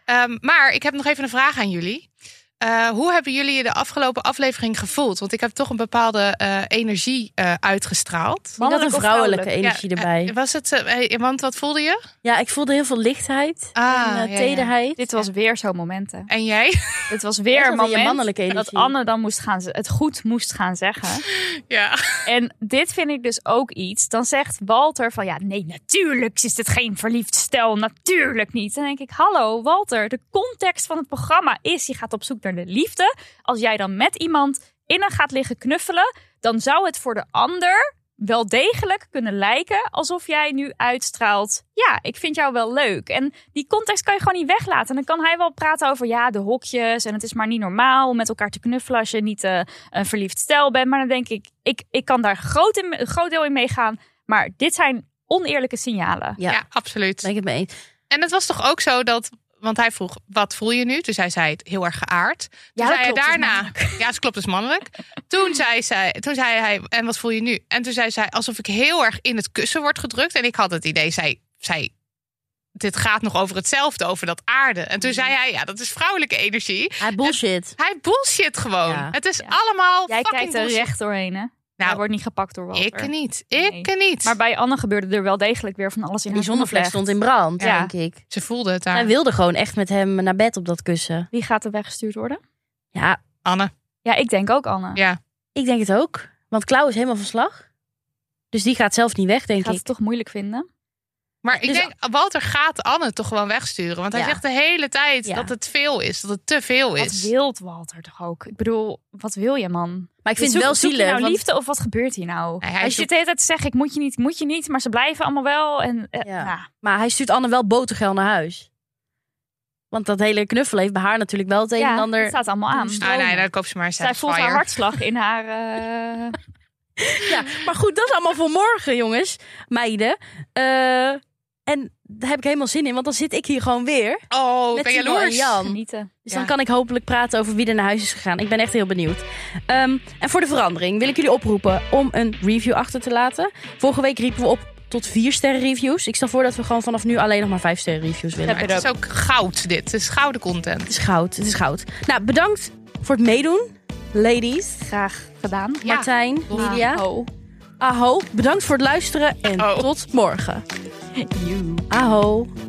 [SPEAKER 3] Ehm, maar ik heb nog even een vraag aan jullie. Eh, hoe hebben jullie je de afgelopen aflevering gevoeld? Want ik heb toch een bepaalde eh, energie eh, uitgestraald.
[SPEAKER 1] Die had
[SPEAKER 2] Mannelijk
[SPEAKER 1] een
[SPEAKER 2] of
[SPEAKER 1] vrouwelijke
[SPEAKER 2] vrouwelijk?
[SPEAKER 1] energie
[SPEAKER 3] Ja,
[SPEAKER 1] erbij.
[SPEAKER 3] eh, Was het, eh, eh, want wat voelde je?
[SPEAKER 1] ja, ik voelde heel veel lichtheid
[SPEAKER 2] Ah,
[SPEAKER 1] en eh,
[SPEAKER 3] Ah, ja, ja.
[SPEAKER 1] tederheid.
[SPEAKER 2] Dit was weer zo'n moment. Hè.
[SPEAKER 3] En jij?
[SPEAKER 2] Dit was
[SPEAKER 1] Echt
[SPEAKER 2] weer
[SPEAKER 1] wel
[SPEAKER 2] een
[SPEAKER 1] je
[SPEAKER 2] moment
[SPEAKER 1] mannelijke energie.
[SPEAKER 2] dat Anne dan moest gaan, ze- het goed moest gaan zeggen.
[SPEAKER 3] ja.
[SPEAKER 2] En dit vind ik dus ook iets. Dan zegt Walter van ja, nee, natuurlijk is dit geen verliefd stel. Natuurlijk niet. Dan denk ik, hallo Walter, de context van het programma is je gaat op zoek naar de liefde. Als jij dan met iemand in een gaat liggen knuffelen, dan zou het voor de ander wel degelijk kunnen lijken alsof jij nu uitstraalt. Ja, ik vind jou wel leuk. En die context kan je gewoon niet weglaten. En dan kan hij wel praten over ja, de hokjes. En het is maar niet normaal om met elkaar te knuffelen als je niet eh, een verliefd stel bent. Maar dan denk ik, ik, ik kan daar groot in, een groot deel in meegaan. Maar dit zijn oneerlijke signalen.
[SPEAKER 1] Ja,
[SPEAKER 3] Ja,
[SPEAKER 1] daar
[SPEAKER 3] absoluut.
[SPEAKER 1] ben ik het mee eens.
[SPEAKER 3] En het was toch ook zo dat. Want hij vroeg, wat voel je nu? Dus hij zei het heel erg geaard. Toen
[SPEAKER 2] dat
[SPEAKER 3] zei hij
[SPEAKER 2] klopt, dus dat is
[SPEAKER 3] daarna,
[SPEAKER 2] mannelijk.
[SPEAKER 3] ja, dat klopt, dat is mannelijk. Toen zei, zij, toen zei hij, en wat voel je nu? En toen zei zij, alsof ik heel erg in het kussen word gedrukt. En ik had het idee, zij, zij, dit gaat nog over hetzelfde, over dat aarde. En
[SPEAKER 2] Mhm.
[SPEAKER 3] toen zei hij, ja, dat is vrouwelijke energie.
[SPEAKER 1] Hij Ah, bullshit.
[SPEAKER 3] Hij bullshit gewoon.
[SPEAKER 1] Ja.
[SPEAKER 3] Het is
[SPEAKER 2] Ja.
[SPEAKER 3] allemaal
[SPEAKER 2] Jij
[SPEAKER 3] fucking
[SPEAKER 2] kijkt er
[SPEAKER 3] bullshit.
[SPEAKER 2] recht doorheen, hè? hij
[SPEAKER 3] Nou,
[SPEAKER 2] wordt niet gepakt door Walter.
[SPEAKER 3] ik niet, ik
[SPEAKER 2] Nee.
[SPEAKER 3] niet.
[SPEAKER 2] Maar bij Anne gebeurde er wel degelijk weer van alles in
[SPEAKER 1] Die
[SPEAKER 2] haar
[SPEAKER 1] zonnevlecht
[SPEAKER 2] zonnevlecht.
[SPEAKER 1] stond in brand,
[SPEAKER 2] Ja.
[SPEAKER 1] denk ik.
[SPEAKER 3] Ze voelde het
[SPEAKER 1] Hij
[SPEAKER 3] daar.
[SPEAKER 1] wilde gewoon echt met hem naar bed op dat kussen.
[SPEAKER 2] Wie gaat er weggestuurd worden?
[SPEAKER 1] Ja,
[SPEAKER 3] Anne,
[SPEAKER 2] Ja, ik denk ook Anne.
[SPEAKER 3] ja.
[SPEAKER 1] ik denk het ook. Want Klauw is helemaal van slag. Dus die gaat zelf niet weg, denk
[SPEAKER 2] gaat
[SPEAKER 1] ik.
[SPEAKER 2] het toch moeilijk vinden?
[SPEAKER 3] Maar ik
[SPEAKER 1] Dus-
[SPEAKER 3] denk, Walter gaat Anne toch gewoon wegsturen. Want hij
[SPEAKER 1] Ja.
[SPEAKER 3] zegt de hele tijd
[SPEAKER 1] Ja.
[SPEAKER 3] dat het veel is. Dat het te veel
[SPEAKER 2] Wat
[SPEAKER 3] is.
[SPEAKER 2] wil Walter toch ook? Ik bedoel, wat wil je man?
[SPEAKER 1] Maar ik vind
[SPEAKER 2] Zoek-
[SPEAKER 1] het wel
[SPEAKER 2] zoek je
[SPEAKER 1] zielig.
[SPEAKER 2] nou
[SPEAKER 1] want-
[SPEAKER 2] liefde of wat gebeurt hier nou?
[SPEAKER 3] Nee, hij
[SPEAKER 2] Hij zit
[SPEAKER 3] zoekt-
[SPEAKER 2] de hele tijd te zeggen, ik moet je niet, ik moet je niet. Maar ze blijven allemaal wel. En, eh,
[SPEAKER 1] Ja.
[SPEAKER 2] nou,
[SPEAKER 1] Maar hij stuurt Anne wel botergeld naar huis. Want dat hele knuffelen heeft bij haar natuurlijk wel het een
[SPEAKER 2] ja,
[SPEAKER 1] en ander.
[SPEAKER 2] het staat allemaal aan.
[SPEAKER 1] doen.
[SPEAKER 3] Ah, nee, dan koop ze maar een
[SPEAKER 2] Zij voelt
[SPEAKER 3] Satisfyer.
[SPEAKER 2] haar hartslag in haar... eh,
[SPEAKER 1] Ja, maar goed, dat is allemaal voor morgen, jongens, meiden. Eh, en daar heb ik helemaal zin in, want dan zit ik hier gewoon weer.
[SPEAKER 3] Oh,
[SPEAKER 1] Met
[SPEAKER 3] ik ben
[SPEAKER 1] Timo en
[SPEAKER 3] jaloers.
[SPEAKER 1] Jan.
[SPEAKER 2] genieten.
[SPEAKER 1] Dus
[SPEAKER 3] Ja.
[SPEAKER 1] dan kan ik hopelijk praten over wie er naar huis is gegaan. Ik ben echt heel benieuwd. Ehm, en voor de verandering wil ik jullie oproepen om een review achter te laten. Vorige week riepen we op tot vier sterren reviews. Ik stel voor dat we gewoon vanaf nu alleen nog maar vijf sterren reviews willen.
[SPEAKER 3] Maar het is ook goud dit. Het is gouden content.
[SPEAKER 1] Het is goud, het is goud. Nou, bedankt voor het meedoen, ladies.
[SPEAKER 2] Graag gedaan.
[SPEAKER 3] Ja.
[SPEAKER 1] Martijn, Lydia.
[SPEAKER 2] Oh.
[SPEAKER 1] Aho, bedankt voor het luisteren en
[SPEAKER 3] Aho.
[SPEAKER 1] tot morgen.
[SPEAKER 2] You.
[SPEAKER 1] Aho.